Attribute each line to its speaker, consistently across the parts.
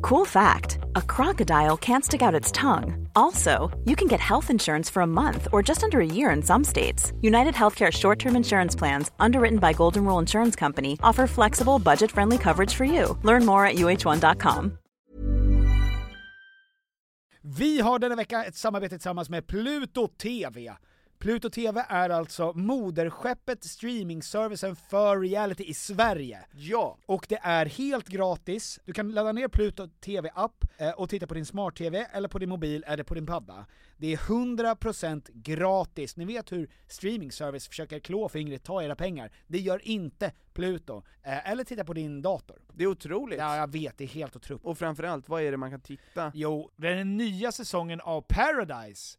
Speaker 1: Cool fact a crocodile can't stick out its tongue. Also, you can get health insurance for a month or just under a year in some states. United Healthcare short term insurance plans, underwritten by Golden Rule Insurance Company, offer flexible, budget friendly coverage for you. Learn more at uh1.com.
Speaker 2: Vi har denna vecka ett samarbete tillsammans med Pluto TV. Pluto TV är alltså moderskeppet streamingservicen för reality i Sverige.
Speaker 3: Ja!
Speaker 2: Och det är helt gratis. Du kan ladda ner Pluto TV-app eh, och titta på din smart-TV, eller på din mobil, eller på din padda. Det är 100% gratis. Ni vet hur streamingservice försöker klå fingret, ta era pengar. Det gör inte Pluto. Eh, eller titta på din dator.
Speaker 3: Det är otroligt.
Speaker 2: Ja, jag vet, det är helt otroligt.
Speaker 3: Och framförallt, vad är det man kan titta?
Speaker 2: Jo, den nya säsongen av Paradise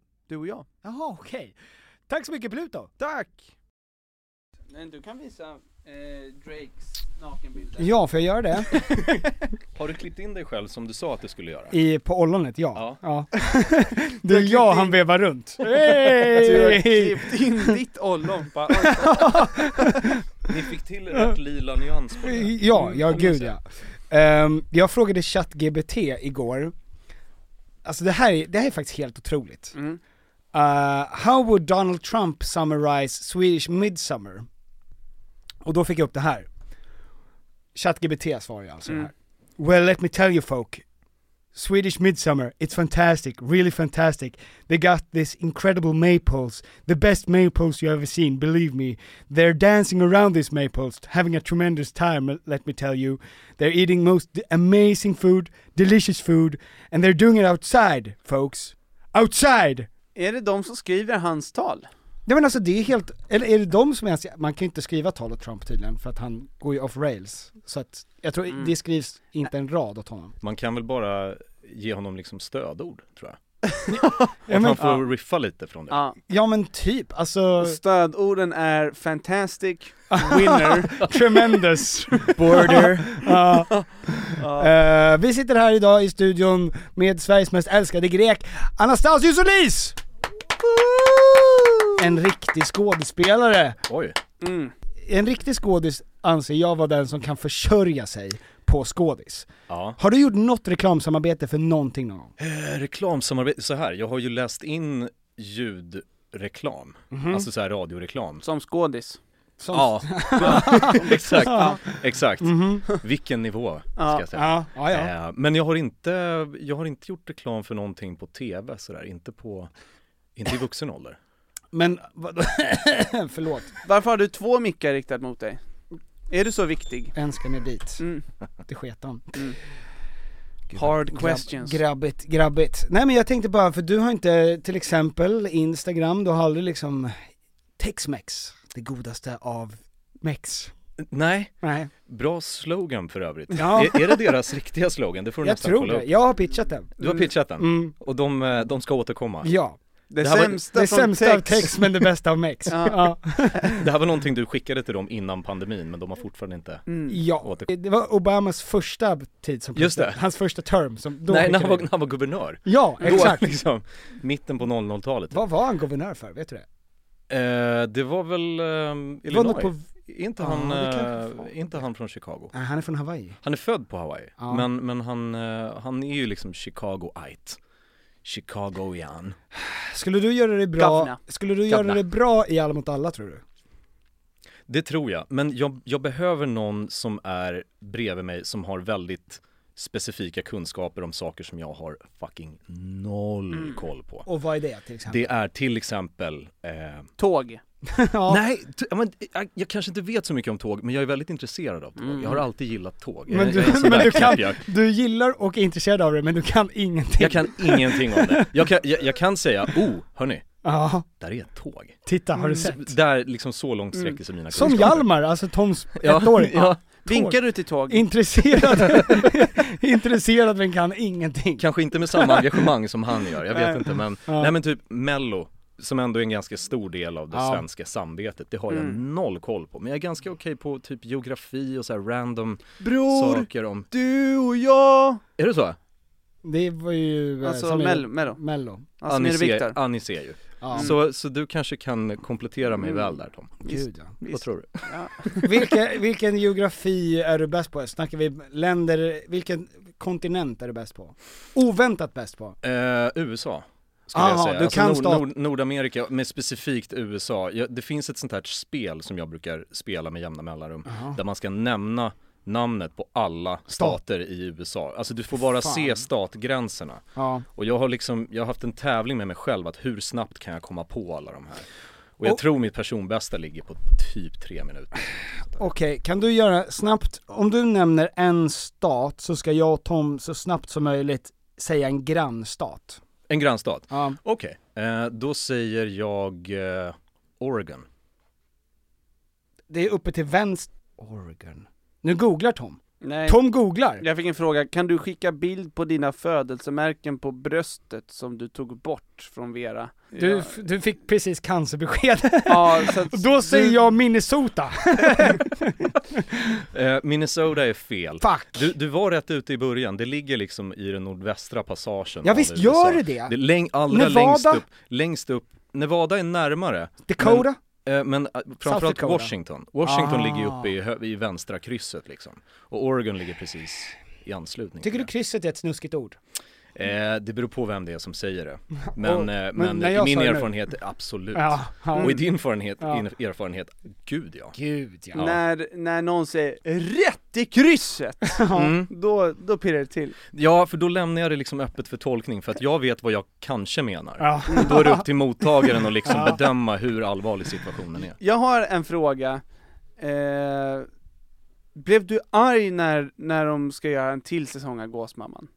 Speaker 3: Du och jag.
Speaker 2: Jaha, okej. Tack så mycket Pluto!
Speaker 3: Tack! Men du kan visa eh, Drakes nakenbilder.
Speaker 2: Ja, får jag göra det?
Speaker 4: Har du klippt in dig själv som du sa att du skulle göra?
Speaker 2: I, på ollonet,
Speaker 4: Ja.
Speaker 2: Du och jag, han vevar runt. Hej!
Speaker 3: Klippt in ditt ollon bara, oj,
Speaker 4: Ni fick till rätt lila nyans på det. Mm,
Speaker 5: Ja, ja
Speaker 4: Om man
Speaker 5: gud
Speaker 4: säger.
Speaker 5: ja. Ehm, jag frågade ChatGBT igår, alltså det här är, det här är faktiskt helt otroligt.
Speaker 3: Mm.
Speaker 5: Eh, how would Donald Trump summarize Swedish midsummer? Och då fick jag upp det här. ChatGBT svarar ju alltså det här. Well let me tell you folk, Swedish midsummer, it's fantastic, really fantastic. They got this incredible maples, the best maples you ever seen, believe me. They're dancing around these maples, having a tremendous time, let me tell you. They're eating most d- amazing food, delicious food, and they're doing it outside, folks. Outside!
Speaker 3: Är det de som skriver hans tal?
Speaker 5: Nej men alltså det är helt, eller är det de som ens, man kan ju inte skriva tal åt Trump tydligen för att han går ju off rails. Så att, jag tror det skrivs inte en rad åt honom.
Speaker 4: Man kan väl bara ge honom liksom stödord, tror jag.
Speaker 5: Ja
Speaker 4: Att
Speaker 5: men,
Speaker 4: han får riffa lite från det.
Speaker 3: Ja.
Speaker 5: ja, men typ, alltså,
Speaker 3: Stödorden är fantastic, winner,
Speaker 5: tremendous.
Speaker 3: border.
Speaker 5: Ja. Eh, vi sitter här idag i studion med Sveriges mest älskade grek, Anastasios Solis! En riktig skådespelare.
Speaker 4: Oj,
Speaker 3: Mm.
Speaker 5: En riktig skådis anser jag vara den som kan försörja sig på skådis.
Speaker 4: ja.
Speaker 5: Har du gjort något reklamsamarbete för någonting någon gång?
Speaker 4: Eh, Reklamsamarbete, så här, jag har ju läst in ljudreklam,
Speaker 5: Mhm.
Speaker 4: alltså så här radioreklam.
Speaker 3: Som skådis.
Speaker 5: Som-
Speaker 4: Ja, exakt, exakt. Vilken nivå, ska jag säga.
Speaker 5: Mhm. Ja, ja, ja.
Speaker 4: Eh, Men jag har, inte, jag har inte gjort reklam för någonting på tv sådär, inte på, inte i vuxen ålder.
Speaker 5: Men, vadå? förlåt,
Speaker 3: Varför har du två mickar riktat mot dig? Är du så viktig?
Speaker 5: en ska ner dit.
Speaker 3: Mm.
Speaker 5: Det sket han.
Speaker 3: Hard questions.
Speaker 5: Grabbigt, grabbigt. Nej men jag tänkte bara, för du har inte till exempel Instagram, du har aldrig liksom Tex-Mex, det godaste av mex.
Speaker 4: Nej,
Speaker 5: Nej,
Speaker 4: bra slogan för övrigt.
Speaker 5: Ja.
Speaker 4: Är, är det deras riktiga slogan? Det får du
Speaker 5: jag
Speaker 4: nästan
Speaker 5: tror
Speaker 4: kolla upp.
Speaker 5: det. Jag har pitchat den.
Speaker 4: Du har pitchat den,
Speaker 5: Mm,
Speaker 4: och de, eh, de ska återkomma.
Speaker 5: ja.
Speaker 3: Det,
Speaker 4: Det här var-
Speaker 3: sämsta
Speaker 5: Det
Speaker 3: från
Speaker 5: sämsta av
Speaker 3: text.
Speaker 5: text men det bästa av mex.
Speaker 3: Ja.
Speaker 5: ja.
Speaker 4: Det här var någonting du skickade till dem innan pandemin, men de har fortfarande inte...
Speaker 3: Mm.
Speaker 5: ja.
Speaker 4: Åter-
Speaker 5: Det var Obamas första tid som
Speaker 4: Just det.
Speaker 5: president. Hans första term som då
Speaker 4: Nej, när
Speaker 5: skickade
Speaker 4: han var,
Speaker 5: vi.
Speaker 4: när han var guvernör.
Speaker 5: Ja, exakt.
Speaker 4: Då, liksom, mitten på 00-talet.
Speaker 5: Vad var han guvernör för? Vet du det?
Speaker 4: Eh, det var väl
Speaker 5: Det
Speaker 4: eh,
Speaker 5: var
Speaker 4: Illinois?
Speaker 5: något på...
Speaker 4: Är inte,
Speaker 5: Ja,
Speaker 4: han,
Speaker 5: det kanske
Speaker 4: eh,
Speaker 5: var.
Speaker 4: är inte han från Chicago?
Speaker 5: Nej, han är från Hawaii.
Speaker 4: Han är född på Hawaii,
Speaker 5: Ja.
Speaker 4: men, men han, eh, han är ju liksom Chicagoite. Chicagoian.
Speaker 5: Skulle du göra det bra,
Speaker 3: Gavna.
Speaker 5: skulle du
Speaker 4: Gavna.
Speaker 5: göra det bra i Alla mot alla tror du?
Speaker 4: Det tror jag, men jag, jag behöver någon som är bredvid mig som har väldigt specifika kunskaper om saker som jag har fucking noll
Speaker 5: Mm.
Speaker 4: koll på.
Speaker 5: Och vad är det till exempel?
Speaker 4: Det är till exempel eh,
Speaker 3: Tåg.
Speaker 5: ja.
Speaker 4: Nej, t- ja, men, jag, jag kanske inte vet så mycket om tåg, men jag är väldigt intresserad av tåg.
Speaker 3: Mm.
Speaker 4: Jag har alltid gillat tåg.
Speaker 5: Men
Speaker 4: jag,
Speaker 5: du-
Speaker 4: jag, är en sån
Speaker 5: men
Speaker 4: där
Speaker 5: du kan-
Speaker 4: knäppjök.
Speaker 5: Du gillar och är intresserad av det men du kan ingenting.
Speaker 4: jag kan ingenting om det. Jag kan, jag, jag kan säga, oh, hörni,
Speaker 5: Ja,
Speaker 4: där är ett tåg.
Speaker 5: titta har du sett?
Speaker 4: Där, liksom så långt sträcker sig mina
Speaker 5: Mm. Som
Speaker 4: kunskaper.
Speaker 5: Hjalmar, alltså Toms
Speaker 4: Ja,
Speaker 5: ettåring.
Speaker 4: ja.
Speaker 3: Vinkar du till tåg?
Speaker 5: Intresserad, intresserad men kan ingenting.
Speaker 4: Kanske inte med samma engagemang som han gör, jag vet inte men,
Speaker 5: Ja.
Speaker 4: nej men typ mello som ändå är en ganska stor del av det svenska samvetet, det har jag noll koll på. Men jag är ganska okej på typ geografi och så här random
Speaker 3: Bror,
Speaker 4: saker om...
Speaker 3: du och jag!
Speaker 4: Är det så?
Speaker 5: Det var ju... eh,
Speaker 3: Alltså
Speaker 5: som är-
Speaker 3: Mello, Mello.
Speaker 5: Mello.
Speaker 3: Alltså
Speaker 4: ni
Speaker 3: med
Speaker 4: ser,
Speaker 3: Viktor.
Speaker 4: ja, ni ser ju.
Speaker 5: Ja,
Speaker 4: Så, så du kanske kan komplettera mig
Speaker 3: Mm.
Speaker 4: väl där Tom?
Speaker 5: gud ja.
Speaker 4: Vad tror du?
Speaker 5: Vilken, vilken geografi är du bäst på? Snackar vi länder, vilken kontinent är du bäst på? Oväntat bäst på?
Speaker 4: Eh, USA skulle
Speaker 5: Aha,
Speaker 4: jag säga. Alltså
Speaker 5: du kan
Speaker 4: Nord-
Speaker 5: stat-
Speaker 4: Nord- Nordamerika, med specifikt USA. Ja, det finns ett sånt här spel som jag brukar spela med jämna mellanrum, där man ska nämna namnet på alla stater i USA. Alltså du får bara se statgränserna.
Speaker 5: Ja.
Speaker 4: Och jag har liksom, jag har haft en tävling med mig själv att hur snabbt kan jag komma på alla de här? Och jag
Speaker 5: Och-
Speaker 4: tror mitt personbästa ligger på typ tre minuter.
Speaker 5: Okej, kan du göra snabbt, om du nämner en stat så ska jag och Tom så snabbt som möjligt säga en grannstat.
Speaker 4: En grannstat.
Speaker 5: Ja.
Speaker 4: Okej, eh, då säger jag eh, Oregon.
Speaker 5: Det är uppe till vänster. Oregon. Nu googlar Tom.
Speaker 3: Nej.
Speaker 5: Tom googlar!
Speaker 3: Jag fick en fråga, kan du skicka bild på dina födelsemärken på bröstet som du tog bort från Vera?
Speaker 5: Du, f- du fick precis cancerbesked.
Speaker 3: ja, så att,
Speaker 5: Då säger jag Minnesota.
Speaker 4: Eh, Minnesota är fel.
Speaker 5: Fuck!
Speaker 4: Du, du var rätt ute i början, det ligger liksom i den nordvästra passagen
Speaker 5: ja
Speaker 4: av
Speaker 5: visst
Speaker 4: USA.
Speaker 5: gör det det!
Speaker 4: det? Läng, allra
Speaker 5: Nevada?
Speaker 4: längst upp, längst upp, Nevada är närmare,
Speaker 5: Dakota?
Speaker 4: eh, men eh, framförallt
Speaker 5: Dakota.
Speaker 4: Washington. Washington
Speaker 5: Ah.
Speaker 4: ligger ju uppe i, hö- i vänstra krysset liksom. Och Oregon ligger precis i anslutning.
Speaker 5: Tycker du
Speaker 4: till
Speaker 5: krysset är ett snuskigt ord?
Speaker 4: det. Eh, det beror på vem det är som säger det. Men,
Speaker 5: Och-
Speaker 4: eh, men,
Speaker 5: men när
Speaker 4: i
Speaker 5: jag
Speaker 4: min
Speaker 5: sa det nu-
Speaker 4: erfarenhet, absolut.
Speaker 5: Ja. Mm. ja.
Speaker 4: Och i din erfarenhet,
Speaker 5: Ja.
Speaker 4: in- erfarenhet, gud ja.
Speaker 5: Gud ja.
Speaker 3: när, när någon säger rätt i krysset,
Speaker 4: Mm.
Speaker 3: då, då pirrar det till.
Speaker 4: Ja, för då lämnar jag det liksom öppet för tolkning för att jag vet vad jag kanske menar.
Speaker 5: Ja.
Speaker 4: Då är det upp till mottagaren att liksom bedöma hur allvarlig situationen är.
Speaker 3: Jag har en fråga, eh, blev du arg när, när de ska göra en till säsong av Gåsmamman?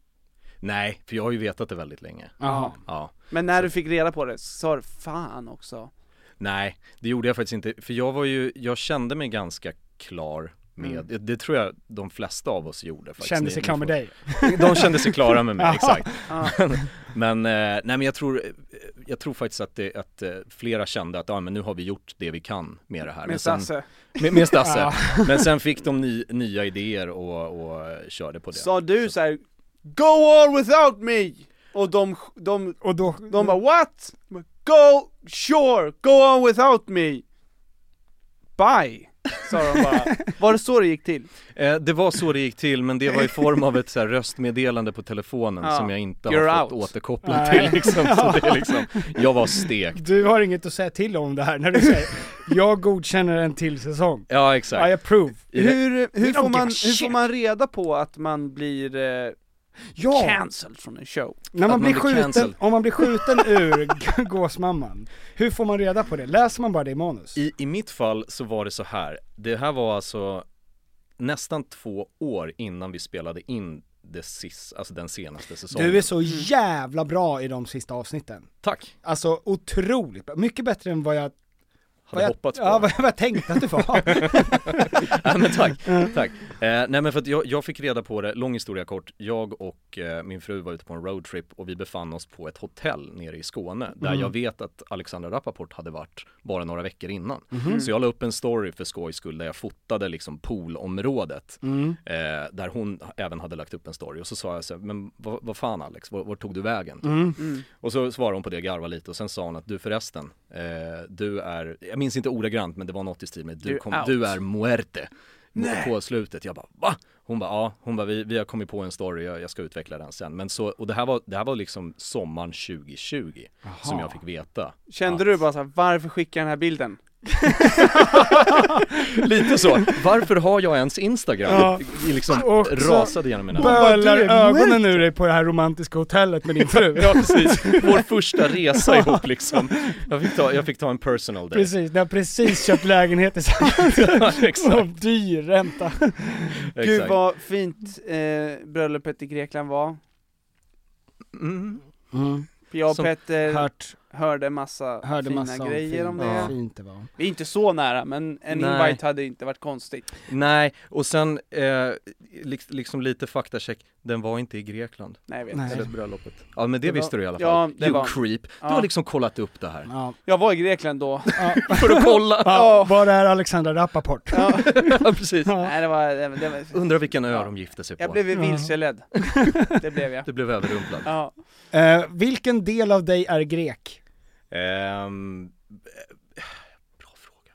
Speaker 4: Nej, för jag har ju vetat det väldigt länge.
Speaker 5: Jaha.
Speaker 4: Ja.
Speaker 3: Men när du fick reda på det, sa du fan också?
Speaker 4: Nej, det gjorde jag faktiskt inte. För jag var ju, jag kände mig ganska klar med, det, det tror jag de flesta av oss gjorde faktiskt.
Speaker 5: Mm. Kände
Speaker 4: Ni-
Speaker 5: sig
Speaker 4: ni
Speaker 5: klar med
Speaker 4: får-
Speaker 5: dig.
Speaker 4: De kände sig klara med mig,
Speaker 5: Ja.
Speaker 4: exakt. Men, men, eh, nej men jag tror, jag tror faktiskt att, det, att eh, flera kände att, ja men nu har vi gjort det vi kan med det här. Men
Speaker 3: Med
Speaker 4: sen-
Speaker 3: Sasse?
Speaker 4: Med, med Stasse. Men sen fick de ny, nya idéer och, och körde på det.
Speaker 3: Sa du så här, Go all without me! Och de, de,
Speaker 5: Och då...
Speaker 3: de bara what? De bara, Go, sure, go on without me! Bye! Sa de bara. Var det så det gick till?
Speaker 4: Eh, det var så det gick till, men det var i form av ett så här röstmeddelande på telefonen
Speaker 3: Ja.
Speaker 4: som jag inte
Speaker 3: You're
Speaker 4: har fått
Speaker 3: out.
Speaker 4: återkoppla
Speaker 5: Nej.
Speaker 4: till liksom. Så det är liksom, jag var stekt.
Speaker 5: Du har inget att säga till om det här när du säger jag godkänner en till säsong.
Speaker 4: Ja, exakt.
Speaker 5: I approve.
Speaker 4: I det-
Speaker 3: Hur, hur,
Speaker 5: don't
Speaker 3: får
Speaker 5: give a
Speaker 3: man, hur får
Speaker 5: shit.
Speaker 3: man reda på att man blir eh,
Speaker 5: Ja,
Speaker 3: cancelled från en show?
Speaker 5: när man
Speaker 4: man
Speaker 5: blir
Speaker 4: blir
Speaker 5: skjuten,
Speaker 4: cancelled.
Speaker 5: om man blir skjuten ur g- gåsmamman, hur får man reda på det? Läser man bara det i manus?
Speaker 4: I, I mitt fall så var det så här, det här var alltså nästan två år innan vi spelade in det sist, alltså den senaste säsongen.
Speaker 5: Du är så jävla bra i de sista avsnitten.
Speaker 4: Tack!
Speaker 5: Alltså otroligt bra. mycket bättre än vad jag
Speaker 4: hade
Speaker 2: jag,
Speaker 4: hoppats på.
Speaker 2: Ja, vad vad jag tänkte att det var.
Speaker 4: ja, men tack, tack. Eh, nej men för att jag, jag fick reda på det, lång historia kort, jag och eh, min fru var ute på en roadtrip och vi befann oss på ett hotell nere i Skåne där jag vet att Alexandra Rappaport hade varit bara några veckor innan. Så jag la upp en story för skojs skull där jag fotade liksom poolområdet eh, där hon även hade lagt upp en story och så sa jag så här, men vad, vad fan Alex, var, var tog du vägen?
Speaker 3: Mm.
Speaker 4: Mm. Och så svarade hon på det, garvade lite och sen sa hon att du förresten, eh, du är, jag minns inte ordagrant men det var något i stil med du,
Speaker 3: You're
Speaker 4: kom,
Speaker 3: out.
Speaker 4: du är muerte. På slutet, jag bara va? Hon bara ja, hon bara vi, vi har kommit på en story, jag, jag ska utveckla den sen. Men så, och det här var, det här var liksom sommaren 2020 som jag fick veta.
Speaker 3: Kände
Speaker 4: Ja.
Speaker 3: du bara såhär, varför skickar jag den här bilden?
Speaker 4: Lite så, varför har jag ens Instagram?
Speaker 5: Ja.
Speaker 4: I Liksom
Speaker 5: Och så-
Speaker 4: rasade genom mina
Speaker 5: Bölar ögonen ur dig på det här romantiska hotellet med din fru.
Speaker 4: Ja precis, vår första resa ihop liksom. Jag fick ta, jag fick ta en personal day.
Speaker 5: Precis, ni har precis köpt lägenhet tillsammans.
Speaker 4: Ja,
Speaker 5: Och
Speaker 4: exakt,
Speaker 5: dyr ränta.
Speaker 3: Gud
Speaker 4: exakt.
Speaker 3: vad fint eh, bröllopet i Grekland var.
Speaker 4: Mm.
Speaker 3: För jag och
Speaker 4: Som-
Speaker 3: Petter
Speaker 5: Hört,
Speaker 3: hörde massa
Speaker 5: hörde
Speaker 3: fina
Speaker 5: massa om
Speaker 3: grejer
Speaker 5: fint,
Speaker 3: om det.
Speaker 5: ja. fint det var.
Speaker 3: Vi är inte så nära, men en
Speaker 4: Nej.
Speaker 3: invite hade inte varit konstigt.
Speaker 4: Nej, och sen eh, liks- liksom lite faktacheck, den var inte i Grekland.
Speaker 3: Nej jag vet.
Speaker 5: Nej.
Speaker 4: Eller bröllopet. Ja men det,
Speaker 3: Det var-
Speaker 4: visste du i alla fall.
Speaker 3: ja, det
Speaker 4: you
Speaker 3: var-
Speaker 4: creep. Du
Speaker 3: Ja.
Speaker 4: har liksom kollat upp det här.
Speaker 5: Ja.
Speaker 3: Jag var i Grekland då.
Speaker 4: För att kolla!
Speaker 5: Ja, var är Alexandra Rappaport?
Speaker 4: ja precis.
Speaker 3: Nej det var, det var, det var
Speaker 4: Undrar vilken ö de gifte sig på.
Speaker 3: jag blev ju
Speaker 5: Ja.
Speaker 3: vilseledd. Det blev jag.
Speaker 4: Du blev överrumplad.
Speaker 3: Ja.
Speaker 5: Eh, vilken del av dig är grek?
Speaker 4: Ehm, eh, bra fråga.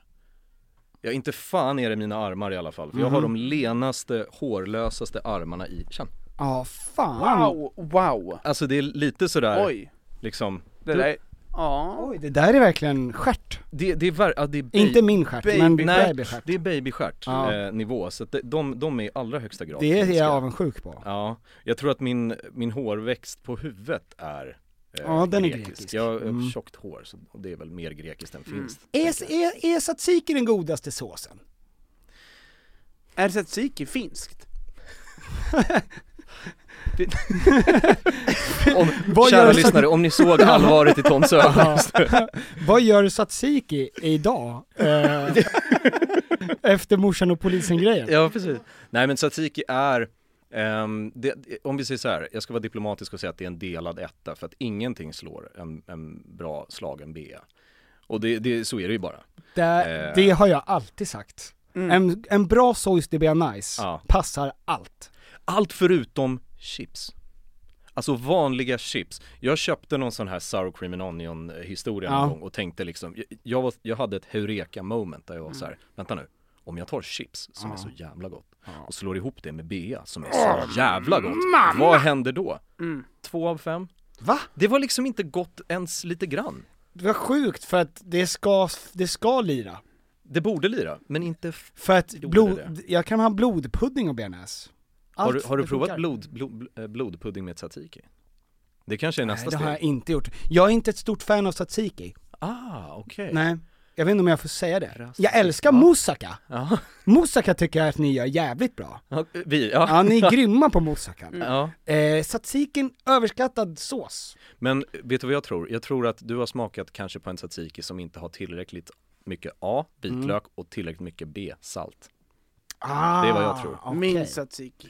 Speaker 4: Ja inte fan är det mina armar i alla fall. För jag
Speaker 5: Mhm.
Speaker 4: har de lenaste, hårlösaste armarna i... Känn.
Speaker 5: Ja, fan.
Speaker 3: Wow, wow.
Speaker 4: Alltså det är lite sådär,
Speaker 3: Oj.
Speaker 4: liksom.
Speaker 3: Det
Speaker 4: Du-
Speaker 3: där, ja.
Speaker 5: Oj, det där är verkligen stjärt.
Speaker 4: Det, det är, ver- ja, det är
Speaker 5: Inte min stjärt, men
Speaker 4: Nej,
Speaker 5: babystjärt.
Speaker 4: det är babystjärt
Speaker 5: Ja.
Speaker 4: eh, nivå, så att det- de, de är i allra högsta grad
Speaker 5: Det är
Speaker 4: finska.
Speaker 5: jag avundsjuk på.
Speaker 4: Ja, jag tror att min, min hårväxt på huvudet är eh,
Speaker 5: Ja, den är grekisk.
Speaker 4: Jag har
Speaker 5: Mm.
Speaker 4: tjockt hår, så och det är väl mer grekiskt än
Speaker 3: Mm.
Speaker 4: finskt.
Speaker 5: Är, är, är tzatziki den godaste såsen?
Speaker 3: Är tzatziki finskt?
Speaker 4: Om,
Speaker 5: Vad
Speaker 4: kära
Speaker 5: gör-
Speaker 4: lyssnare, om ni såg allvaret i Toms ögon just nu.
Speaker 5: Vad gör tzatziki idag? Eh, efter morsan och polisen-grejen?
Speaker 4: Ja, precis. Nej men tzatziki är ehm, det, om vi säger så här, jag ska vara diplomatisk och säga att det är en delad etta för att ingenting slår en, en bra slagen bea. Och det, det, så är det ju bara.
Speaker 5: Det,
Speaker 4: Eh.
Speaker 5: det har jag alltid sagt.
Speaker 3: Mm.
Speaker 5: En, en bra sojs det blir nice,
Speaker 4: Ja.
Speaker 5: passar allt.
Speaker 4: Allt förutom chips. Alltså vanliga chips. Jag köpte någon sån här sour cream and onion eh, historia
Speaker 5: Ja.
Speaker 4: någon gång och tänkte liksom, jag, jag, var, jag hade ett heureka moment där jag var så
Speaker 5: Mm.
Speaker 4: här, vänta nu, om jag tar chips som är så jävla gott och slår ihop det med bea som är så jävla gott, vad händer då?
Speaker 5: Mm.
Speaker 4: Två av fem?
Speaker 5: Va?
Speaker 4: Det var liksom inte gott ens lite grann.
Speaker 5: Det var sjukt för att det ska, det ska lira.
Speaker 4: Det borde lira, men inte... F-
Speaker 5: För att
Speaker 4: Gjorde
Speaker 5: blod, jag kan ha blodpudding och bearnaise.
Speaker 4: har du,
Speaker 5: Allt,
Speaker 4: har du
Speaker 5: det
Speaker 4: provat
Speaker 5: funkar.
Speaker 4: blod, blod, bl- eh, blodpudding med tzatziki? Det kanske är
Speaker 5: Nej,
Speaker 4: nästa
Speaker 5: det har jag
Speaker 4: steg?
Speaker 5: inte gjort. Jag är inte ett stort fan av tzatziki.
Speaker 4: Ah, okej.
Speaker 5: Nej. Jag vet inte om jag får säga det.
Speaker 4: Rasistiskt,
Speaker 5: Jag älskar
Speaker 4: va?
Speaker 5: moussaka.
Speaker 4: Ja.
Speaker 5: Moussaka tycker jag att ni gör jävligt bra.
Speaker 4: Ja, Vi, ja.
Speaker 5: Ja, ni är grymma på moussakan.
Speaker 4: ja.
Speaker 5: Eh, tzatzikin, överskattad sås.
Speaker 4: Men vet du vad jag tror? Jag tror att du har smakat kanske på en tzatziki som inte har tillräckligt mycket A, vitlök
Speaker 5: Mm.
Speaker 4: och tillräckligt mycket B, salt.
Speaker 5: Ah,
Speaker 4: Det är vad jag tror.
Speaker 5: okej.
Speaker 3: Min tzatziki.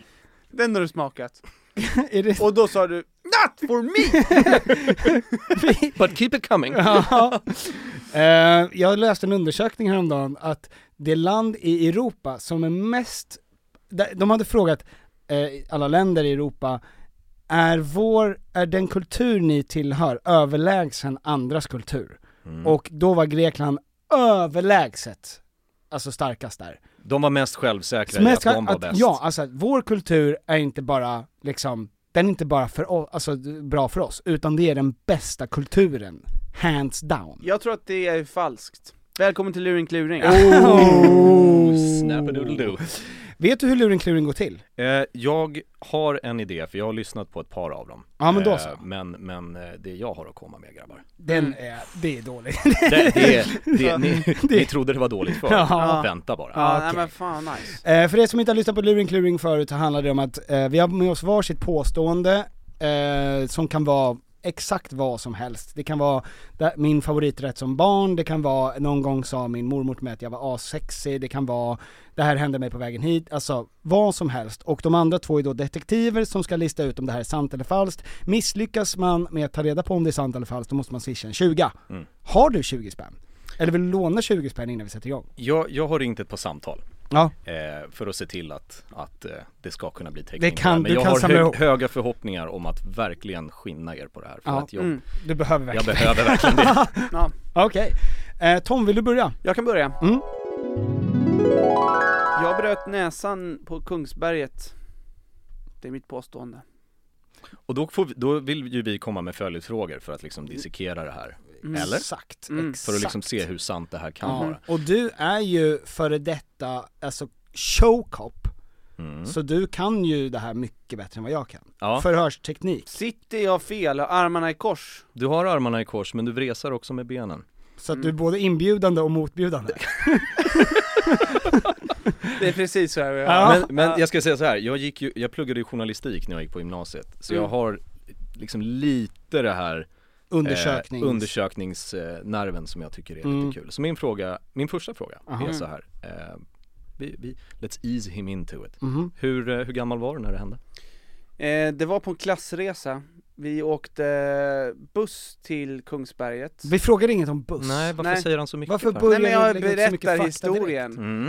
Speaker 3: Den har du smakat.
Speaker 5: Är det...
Speaker 3: Och då sa du NOT FOR ME!
Speaker 4: But keep it coming!
Speaker 5: Ja. Eh, jag läste en undersökning häromdagen att det land i Europa som är mest, där- de hade frågat eh, alla länder i Europa, är vår, är den kultur ni tillhör överlägsen andras kultur?
Speaker 4: Mm.
Speaker 5: Och då var Grekland överlägset, alltså starkast där.
Speaker 4: De var mest självsäkra i
Speaker 5: Mest-
Speaker 4: att de var
Speaker 5: att-
Speaker 4: bäst.
Speaker 5: Ja, alltså att vår kultur är inte bara liksom, den är inte bara för oss, alltså bra för oss, utan det är den bästa kulturen, hands down.
Speaker 3: Jag tror att det är falskt. Välkommen till Luring Kluring.
Speaker 4: Oh, snappadoodledoo.
Speaker 5: Vet du hur luring kluring går till?
Speaker 4: Eh, jag har en idé, för jag har lyssnat på ett par av dem. Eh,
Speaker 5: Ja, men då så.
Speaker 4: men, men eh, det jag har att komma med grabbar.
Speaker 5: Den är, det är dåligt.
Speaker 4: Det, det, det, ni, ni trodde det var dåligt för.
Speaker 5: Ja.
Speaker 4: Vänta bara.
Speaker 3: Ja,
Speaker 5: okej.
Speaker 3: nej men fan nice.
Speaker 5: Eh, för er som inte har lyssnat på luring kluring förut så handlar det om att eh, vi har med oss varsitt påstående eh, som kan vara exakt vad som helst. Det kan vara där- min favoriträtt som barn, det kan vara någon gång sa min mormor till mig att jag var assexig, det kan vara det här hände mig på vägen hit, alltså vad som helst. Och de andra två är då detektiver som ska lista ut om det här är sant eller falskt. Misslyckas man med att ta reda på om det är sant eller falskt, då måste man swisha en 20. Har du 20 spänn? Eller vill du låna 20 spänn innan vi sätter igång?
Speaker 4: Jag, jag har ringt ett par samtal
Speaker 5: Ja.
Speaker 4: eh, för att se till att, att eh, det ska kunna bli täckning.
Speaker 5: Det
Speaker 4: på
Speaker 5: kan-
Speaker 4: här. Men
Speaker 5: du
Speaker 4: jag
Speaker 5: kan
Speaker 4: har
Speaker 5: samla ihop.
Speaker 4: höga förhoppningar om att verkligen skinna er på det här. För
Speaker 5: Ja, Mm.
Speaker 4: att jag,
Speaker 5: Du behöver
Speaker 4: jag
Speaker 5: verkligen.
Speaker 4: behöver verkligen det.
Speaker 3: Ja,
Speaker 5: Okej. Eh, Tom, vill du börja?
Speaker 3: jag kan börja.
Speaker 5: Mm.
Speaker 3: Jag bröt näsan på Kungsberget. Det är mitt påstående.
Speaker 4: Och då, får vi, då vill ju vi komma med följdfrågor för att liksom dissekera det här. Eller?
Speaker 5: Exakt,
Speaker 3: Mm.
Speaker 5: exakt.
Speaker 4: För att liksom se hur sant det här kan
Speaker 5: Ja.
Speaker 4: vara.
Speaker 5: Och du är ju före detta, alltså showcop,
Speaker 4: Mm.
Speaker 5: så du kan ju det här mycket bättre än vad jag kan.
Speaker 4: Ja,
Speaker 5: Förhörsteknik.
Speaker 3: Sitter jag fel, har armarna i kors?
Speaker 4: du har armarna i kors men du vresar också med benen.
Speaker 5: Så att du är både inbjudande och motbjudande.
Speaker 4: Eh,
Speaker 3: Det är precis så här vi
Speaker 5: Ja.
Speaker 4: Men, men jag ska säga så här, jag, gick ju, jag pluggade ju journalistik när jag gick på gymnasiet. Så jag
Speaker 3: Mm.
Speaker 4: har liksom lite det här
Speaker 5: Undersökning.
Speaker 4: eh, undersökningsnerven som jag tycker är
Speaker 5: Mm.
Speaker 4: lite kul. Så min fråga, min första fråga är
Speaker 5: Aha.
Speaker 4: så här. Eh, vi, vi, let's ease him into it.
Speaker 5: Mhm.
Speaker 4: Hur, eh, hur gammal var du när det hände?
Speaker 3: Eh, det var på en klassresa, vi åkte buss till Kungsberget
Speaker 5: Vi frågar inget om buss.
Speaker 4: Nej, varför
Speaker 3: Nej.
Speaker 4: säger han så mycket?
Speaker 5: Varför
Speaker 4: för?
Speaker 5: börjar
Speaker 3: Nej men
Speaker 5: du
Speaker 3: jag
Speaker 5: lägga upp så mycket
Speaker 3: berättar
Speaker 5: fakta
Speaker 3: historien,
Speaker 4: Mm.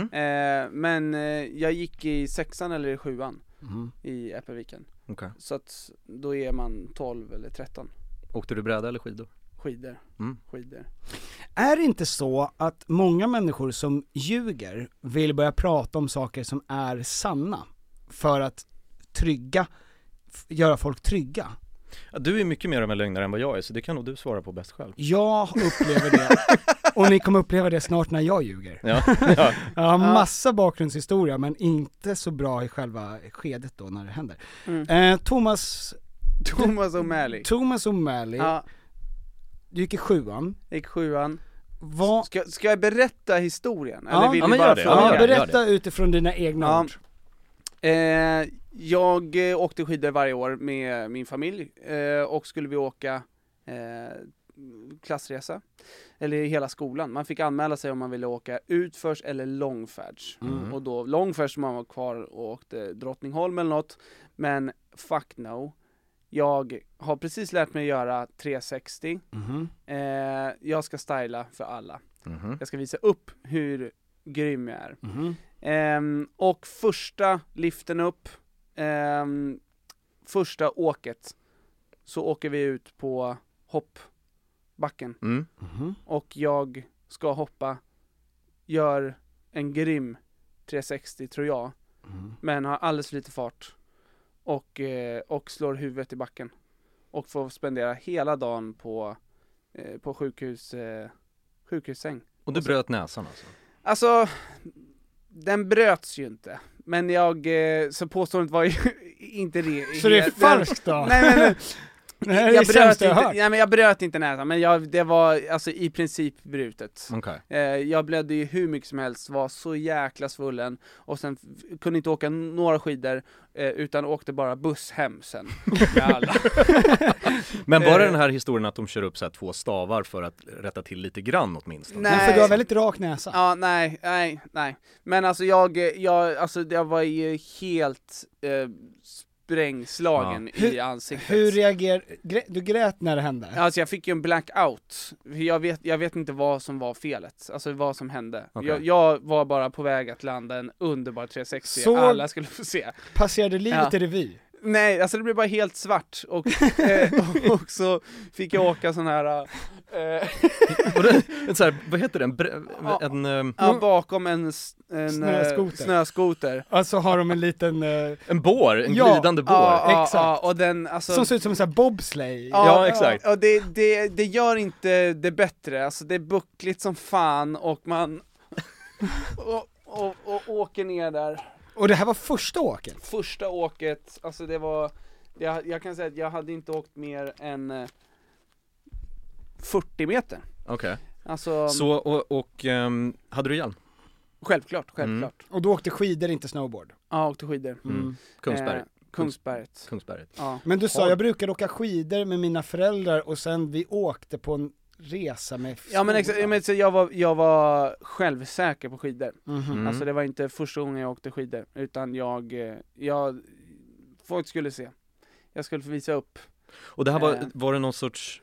Speaker 3: eh, men eh, jag gick i sexan eller i sjuan
Speaker 5: Mhm.
Speaker 3: i Äppelviken
Speaker 4: Okej.
Speaker 3: Så att då är man 12 eller 13,
Speaker 4: Åkte du bräda eller skidor?
Speaker 3: skidor,
Speaker 4: Mm.
Speaker 3: skidor
Speaker 5: Är det inte så att många människor som ljuger vill börja prata om saker som är sanna? För att trygga, f- göra folk trygga?
Speaker 4: Ja, du är mycket mer av en lögnare än vad jag är så det kan nog du svara på bäst själv.
Speaker 5: Jag upplever det, och ni kommer uppleva det snart när jag ljuger.
Speaker 4: Ja, ja.
Speaker 5: Jag har massa bakgrundshistoria men inte så bra i själva skedet då när det händer.
Speaker 3: Mm.
Speaker 5: Eh, Thomas,
Speaker 3: Thomas O'Malley
Speaker 5: Thomas O'Malley,
Speaker 3: Ja,
Speaker 5: du gick i sjuan,
Speaker 3: gick sjuan
Speaker 5: vad,
Speaker 3: Ska, ska jag berätta historien?
Speaker 5: Ja.
Speaker 3: Eller vill
Speaker 4: Ja,
Speaker 3: du
Speaker 4: men
Speaker 3: bara
Speaker 4: gör det.
Speaker 3: fråga?
Speaker 5: ja,
Speaker 4: gör det, gör
Speaker 5: berätta utifrån dina egna
Speaker 3: Ja.
Speaker 5: ord.
Speaker 3: Eh, jag eh, åkte skidor varje år med min familj eh, och skulle vi åka eh, klassresa, eller hela skolan. Man fick anmäla sig om man ville åka utförs eller långfärds.
Speaker 4: Mm.
Speaker 3: Och då långfärds man var kvar och åkte Drottningholm eller något. Men fuck no. Jag har precis lärt mig göra 360.
Speaker 5: Mhm.
Speaker 3: Eh, jag ska styla för alla.
Speaker 4: Mhm.
Speaker 3: Jag ska visa upp hur grym jag är.
Speaker 5: Mhm.
Speaker 3: Ehm, och första liften upp, ehm, första åket, så åker vi ut på hoppbacken.
Speaker 4: Mm.
Speaker 5: Mhm.
Speaker 3: Och jag ska hoppa, gör en grym 360 tror jag,
Speaker 5: Mhm.
Speaker 3: men har alldeles för lite fart. Och, eh, och slår huvudet i backen. Och får spendera hela dagen på, eh, på sjukhus, eh, sjukhussäng.
Speaker 4: Och du bröt näsan alltså?
Speaker 3: Alltså, den bröts ju inte. Men jag, eh, så påståendet var ju inte det.
Speaker 5: Så det är
Speaker 3: helt-
Speaker 5: falskt då?
Speaker 3: Nej, nej, nej.
Speaker 5: Det här är
Speaker 3: Jag
Speaker 5: det sämsta
Speaker 3: bröt,
Speaker 5: jag
Speaker 3: inte,
Speaker 5: hört.
Speaker 3: nej men jag bröt inte näsan, men jag, det var alltså i princip brutet.
Speaker 5: Mm.
Speaker 4: Okej.
Speaker 3: Eh, jag blödde ju hur mycket som helst, var så jäkla svullen och sen f- kunde inte åka n- några skidor eh, utan åkte bara buss hem sen. Med alla.
Speaker 4: Men var det
Speaker 3: Eh.
Speaker 4: den här historien att de kör upp så här två stavar för att rätta till lite grann åtminstone?
Speaker 3: Nej.
Speaker 5: För du har väldigt rak näsa.
Speaker 3: Ja, nej, nej, nej. Men alltså jag, eh, jag, alltså jag var ju helt eh, sprängslagen i ansiktet.
Speaker 5: Hur reagerar, grä, du grät när det hände?
Speaker 3: Alltså jag fick ju en blackout, jag vet, jag vet inte vad som var felet, alltså vad som hände.
Speaker 4: Okej.
Speaker 3: Jag, jag var bara på väg att landa en underbar 360,
Speaker 5: Så-
Speaker 3: alla skulle få se.
Speaker 5: Passerade livet
Speaker 3: Ja.
Speaker 5: i revy?
Speaker 3: Nej, alltså det blev bara helt svart och, eh, och så fick jag åka sån här, eh,
Speaker 4: Och det, en så här, vad heter den? Bre-
Speaker 3: Ja.
Speaker 4: en, ehm,
Speaker 3: ja, bakom en, s- en eh,
Speaker 5: Mm. Snöskoter.
Speaker 3: snöskoter.
Speaker 5: Alltså har de en liten, eh,
Speaker 4: en bår, en
Speaker 5: Ja.
Speaker 4: glidande bår?
Speaker 3: Ja, ja,
Speaker 5: exakt.
Speaker 3: ja, och den alltså
Speaker 5: som ser ut som en sån här bobsleigh?
Speaker 4: Ja, exakt.
Speaker 3: Och det, det, det gör inte det bättre, alltså det är buckligt som fan och man och, och, och åker ner där.
Speaker 5: Och det här var första åket?
Speaker 3: Första åket, alltså det var, jag, jag kan säga att jag hade inte åkt mer än eh, 40 meter.
Speaker 4: Okej.
Speaker 3: Alltså,
Speaker 4: Så, och, och ehm, hade du hjälm?
Speaker 3: självklart, självklart.
Speaker 5: Och du åkte skidor, inte snowboard?
Speaker 3: Ja, åkte skidor.
Speaker 4: Mm. Kungsberg?
Speaker 3: Eh, Kungsberget.
Speaker 4: Kungsberget.
Speaker 3: Ja.
Speaker 5: Men du sa,
Speaker 4: Har-
Speaker 5: jag brukar åka skidor med mina föräldrar och sen vi åkte på en resa med
Speaker 3: Ja men, exa- ja, men så jag, var, jag var självsäker på skidor.
Speaker 5: Mhm.
Speaker 4: Mm.
Speaker 3: Alltså det var inte första gången jag åkte skidor, utan jag, eh, jag, folk skulle se. Jag skulle få visa upp.
Speaker 4: Och det här var,
Speaker 3: Eh.
Speaker 4: var det någon sorts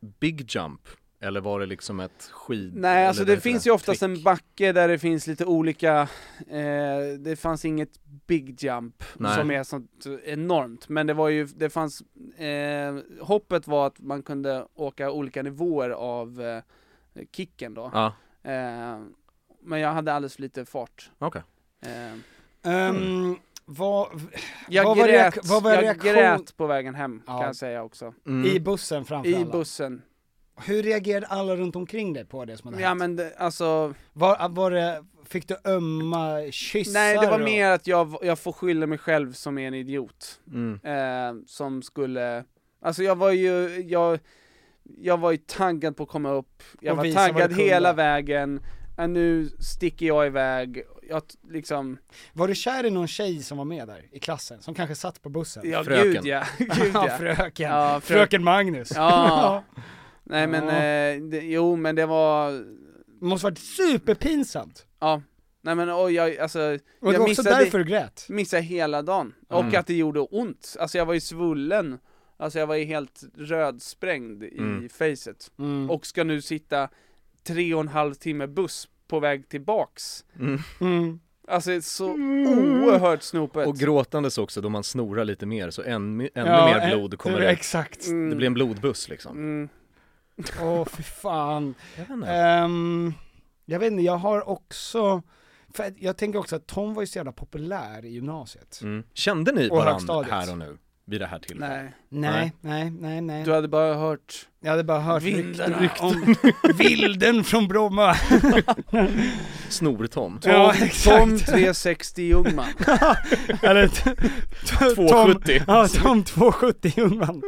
Speaker 4: big jump? Eller var det liksom ett skid?
Speaker 3: Nej alltså
Speaker 4: eller
Speaker 3: det
Speaker 4: vad heter
Speaker 3: finns ju oftast
Speaker 4: Trick.
Speaker 3: en backe där det finns lite olika, eh, det fanns inget big jump
Speaker 4: Nej.
Speaker 3: som är sånt enormt, men det var ju, det fanns, eh, hoppet var att man kunde åka olika nivåer av eh, kicken då.
Speaker 4: Ja,
Speaker 3: Eh, men jag hade alldeles för lite fart.
Speaker 4: okej.
Speaker 3: Eh,
Speaker 5: Ehm, vad,
Speaker 3: Mm. jag
Speaker 5: Vad var
Speaker 3: grät,
Speaker 5: reak- vad var
Speaker 3: jag
Speaker 5: reaktion-
Speaker 3: grät på vägen hem
Speaker 5: Ja.
Speaker 3: kan jag säga också.
Speaker 4: Mm.
Speaker 5: i bussen framför
Speaker 3: I
Speaker 5: alla.
Speaker 3: bussen.
Speaker 5: Hur reagerade alla runt omkring dig på det som hade
Speaker 3: Ja
Speaker 5: hänt?
Speaker 3: men det, alltså,
Speaker 5: Var, var det, fick du ömma kyssar?
Speaker 3: nej det var
Speaker 5: och-
Speaker 3: mer att jag, jag får skylla mig själv som är en idiot.
Speaker 4: Mm.
Speaker 3: eh, som skulle, alltså jag var ju, jag, jag var ju taggad på att komma upp, jag
Speaker 5: Och
Speaker 3: var
Speaker 5: visa vad du
Speaker 3: taggad
Speaker 5: kunde.
Speaker 3: hela vägen, Ja, nu sticker jag iväg, jag t- liksom,
Speaker 5: Var du kär i någon tjej som var med där i klassen? Som kanske satt på bussen?
Speaker 3: ja
Speaker 4: Fröken.
Speaker 3: gud ja, gud
Speaker 5: Ja,
Speaker 3: ja.
Speaker 5: fröken.
Speaker 3: Ja, frö-
Speaker 5: Fröken Magnus.
Speaker 3: Ja. Nej men,
Speaker 5: Ja.
Speaker 3: eh, det, jo men det var,
Speaker 5: Det måste varit superpinsamt.
Speaker 3: ja, nej men oj, jag, alltså,
Speaker 5: Och det
Speaker 3: jag
Speaker 5: var också
Speaker 3: missade,
Speaker 5: därför du grät.
Speaker 3: missade hela dagen, och
Speaker 4: Mm.
Speaker 3: att det gjorde ont, alltså jag var ju svullen, alltså jag var ju helt rödsprängd i
Speaker 4: Mm.
Speaker 3: facet.
Speaker 5: Mm.
Speaker 3: och ska nu sitta tre och en halv timme buss på väg tillbaks.
Speaker 4: Mm.
Speaker 5: Mm.
Speaker 3: Alltså det är så oerhört snopet.
Speaker 4: Och gråtandes också, då man snorar lite mer så ännu, ännu
Speaker 5: Ja,
Speaker 4: mer
Speaker 5: eh,
Speaker 4: blod kommer
Speaker 5: det-
Speaker 4: ut.
Speaker 5: Exakt.
Speaker 3: Mm,
Speaker 4: Det blir en blodbuss liksom.
Speaker 3: mm.
Speaker 5: Åh fy fan.
Speaker 4: Jag vet inte.
Speaker 3: Eh,
Speaker 5: Ehm, jag vet inte, jag har också, för att jag tänker också att Tom var ju så jävla populär i gymnasiet.
Speaker 4: Mm. Kände ni
Speaker 5: Och
Speaker 4: varandra
Speaker 5: högstadiet.
Speaker 4: här och nu? Vid det här tillfället?
Speaker 3: Nej,
Speaker 5: Nej, nej, nej, nej.
Speaker 3: du hade bara hört
Speaker 5: Jag hade bara hört
Speaker 3: Vindarna
Speaker 5: rykt- om vilden från Bromma.
Speaker 4: Snor-Tom.
Speaker 3: Tom,
Speaker 5: Ja,
Speaker 3: Tom
Speaker 5: exakt.
Speaker 3: 360 Ljungman.
Speaker 5: Eller t- t- Tom,
Speaker 4: 270.
Speaker 5: ja, Tom 270 Ljungman.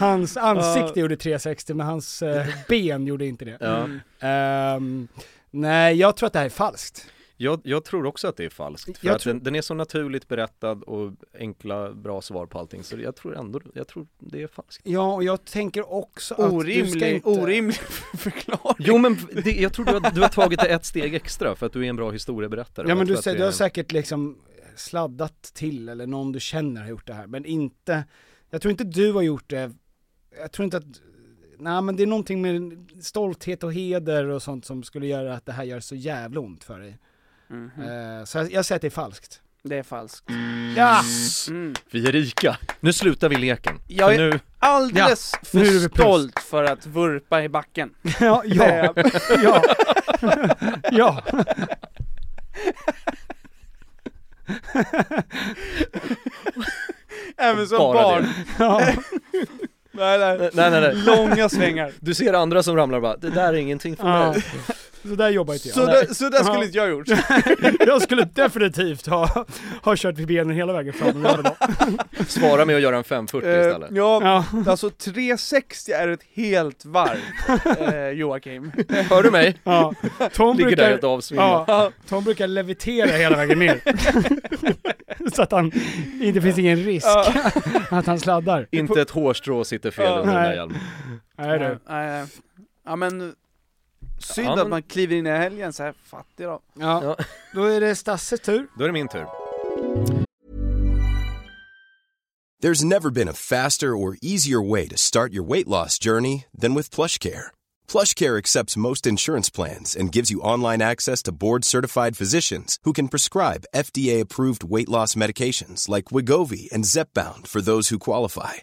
Speaker 5: Hans ansikte gjorde 360 men hans eh, ben gjorde inte det.
Speaker 4: Ja.
Speaker 5: Ehm, nej, jag tror att det här är falskt.
Speaker 4: Jag, jag tror också att det är falskt, för
Speaker 5: Jag
Speaker 4: att
Speaker 5: tror-
Speaker 4: den, den är så naturligt berättad och enkla, bra svar på allting, så jag tror ändå, jag tror det är falskt.
Speaker 5: Ja, och jag tänker också att du ska
Speaker 3: Orimlig,
Speaker 5: inte...
Speaker 3: orimlig förklaring.
Speaker 4: Jo men det, jag tror du har, du har tagit det ett steg extra för att du är en bra historieberättare. och
Speaker 5: Ja
Speaker 4: jag
Speaker 5: men
Speaker 4: tror
Speaker 5: du,
Speaker 4: att
Speaker 5: säger,
Speaker 4: det
Speaker 5: du har
Speaker 4: är-
Speaker 5: säkert liksom sladdat till eller någon du känner har gjort det här, men inte, jag tror inte du har gjort det, jag tror inte att, nej men det är någonting med stolthet och heder och sånt som skulle göra att det här gör så jävla ont för dig.
Speaker 3: Mhm.
Speaker 5: Eh, så jag, jag säger att det är falskt.
Speaker 3: Det är falskt.
Speaker 5: Ja!
Speaker 3: Mm.
Speaker 4: Vi är rika. Nu slutar vi leken.
Speaker 3: Jag
Speaker 4: För
Speaker 3: är-
Speaker 4: nu,
Speaker 3: Alldeles
Speaker 5: nu är det
Speaker 3: för
Speaker 5: plus.
Speaker 3: stolt för att vurpa i backen.
Speaker 5: ja, ja, ja, ja.
Speaker 3: Även som
Speaker 4: Bara
Speaker 3: barn.
Speaker 4: det.
Speaker 5: ja.
Speaker 3: Nej, nej.
Speaker 4: nej nej nej.
Speaker 3: Långa svängar.
Speaker 4: Du ser andra som ramlar och bara, det där är ingenting för
Speaker 5: Ja.
Speaker 4: mig.
Speaker 5: Så där jobbar inte
Speaker 3: Så
Speaker 5: jag.
Speaker 3: där, så där skulle
Speaker 5: Ja.
Speaker 3: inte jag gjort.
Speaker 5: Jag skulle definitivt ha, ha kört vid benen hela vägen fram.
Speaker 4: Svara med att göra en 540 istället.
Speaker 3: Eh, ja,
Speaker 5: Ja.
Speaker 3: Alltså 360 är ett helt varv, eh, Joakim.
Speaker 4: Hör du mig?
Speaker 5: Ja. Tom
Speaker 4: Ligger där
Speaker 5: brukar,
Speaker 4: ett avsvingat.
Speaker 5: Ja, Tom brukar levitera hela vägen ner. så att han, inte finns ingen risk
Speaker 3: Ja.
Speaker 5: att han sladdar.
Speaker 4: Inte ett hårstrå sitter fel
Speaker 3: Ja.
Speaker 4: under den där
Speaker 5: Nej.
Speaker 4: hjälmen.
Speaker 5: Nej du.
Speaker 3: Ja, eh, ja men, synd
Speaker 4: Ja,
Speaker 3: att
Speaker 4: men-
Speaker 3: man kliver in i helgen så här fattig då.
Speaker 5: Ja.
Speaker 4: Ja.
Speaker 5: Då är det Stasses tur.
Speaker 4: Då är det min tur.
Speaker 6: There's never been a faster or easier way to start your weight loss journey than with PlushCare. PlushCare accepts most insurance plans and gives you online access to board-certified physicians who can prescribe FDA-approved weight loss medications like Wigovi and Zepbound for those who qualify.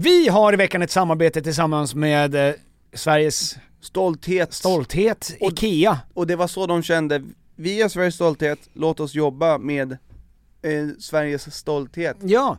Speaker 5: Vi har i veckan ett samarbete tillsammans med eh, Sveriges
Speaker 3: Stolthet.
Speaker 5: stolthet,
Speaker 3: Och-
Speaker 5: IKEA.
Speaker 3: Och det var så de kände, vi är Sveriges stolthet, låt oss jobba med eh, Sveriges stolthet.
Speaker 5: Ja,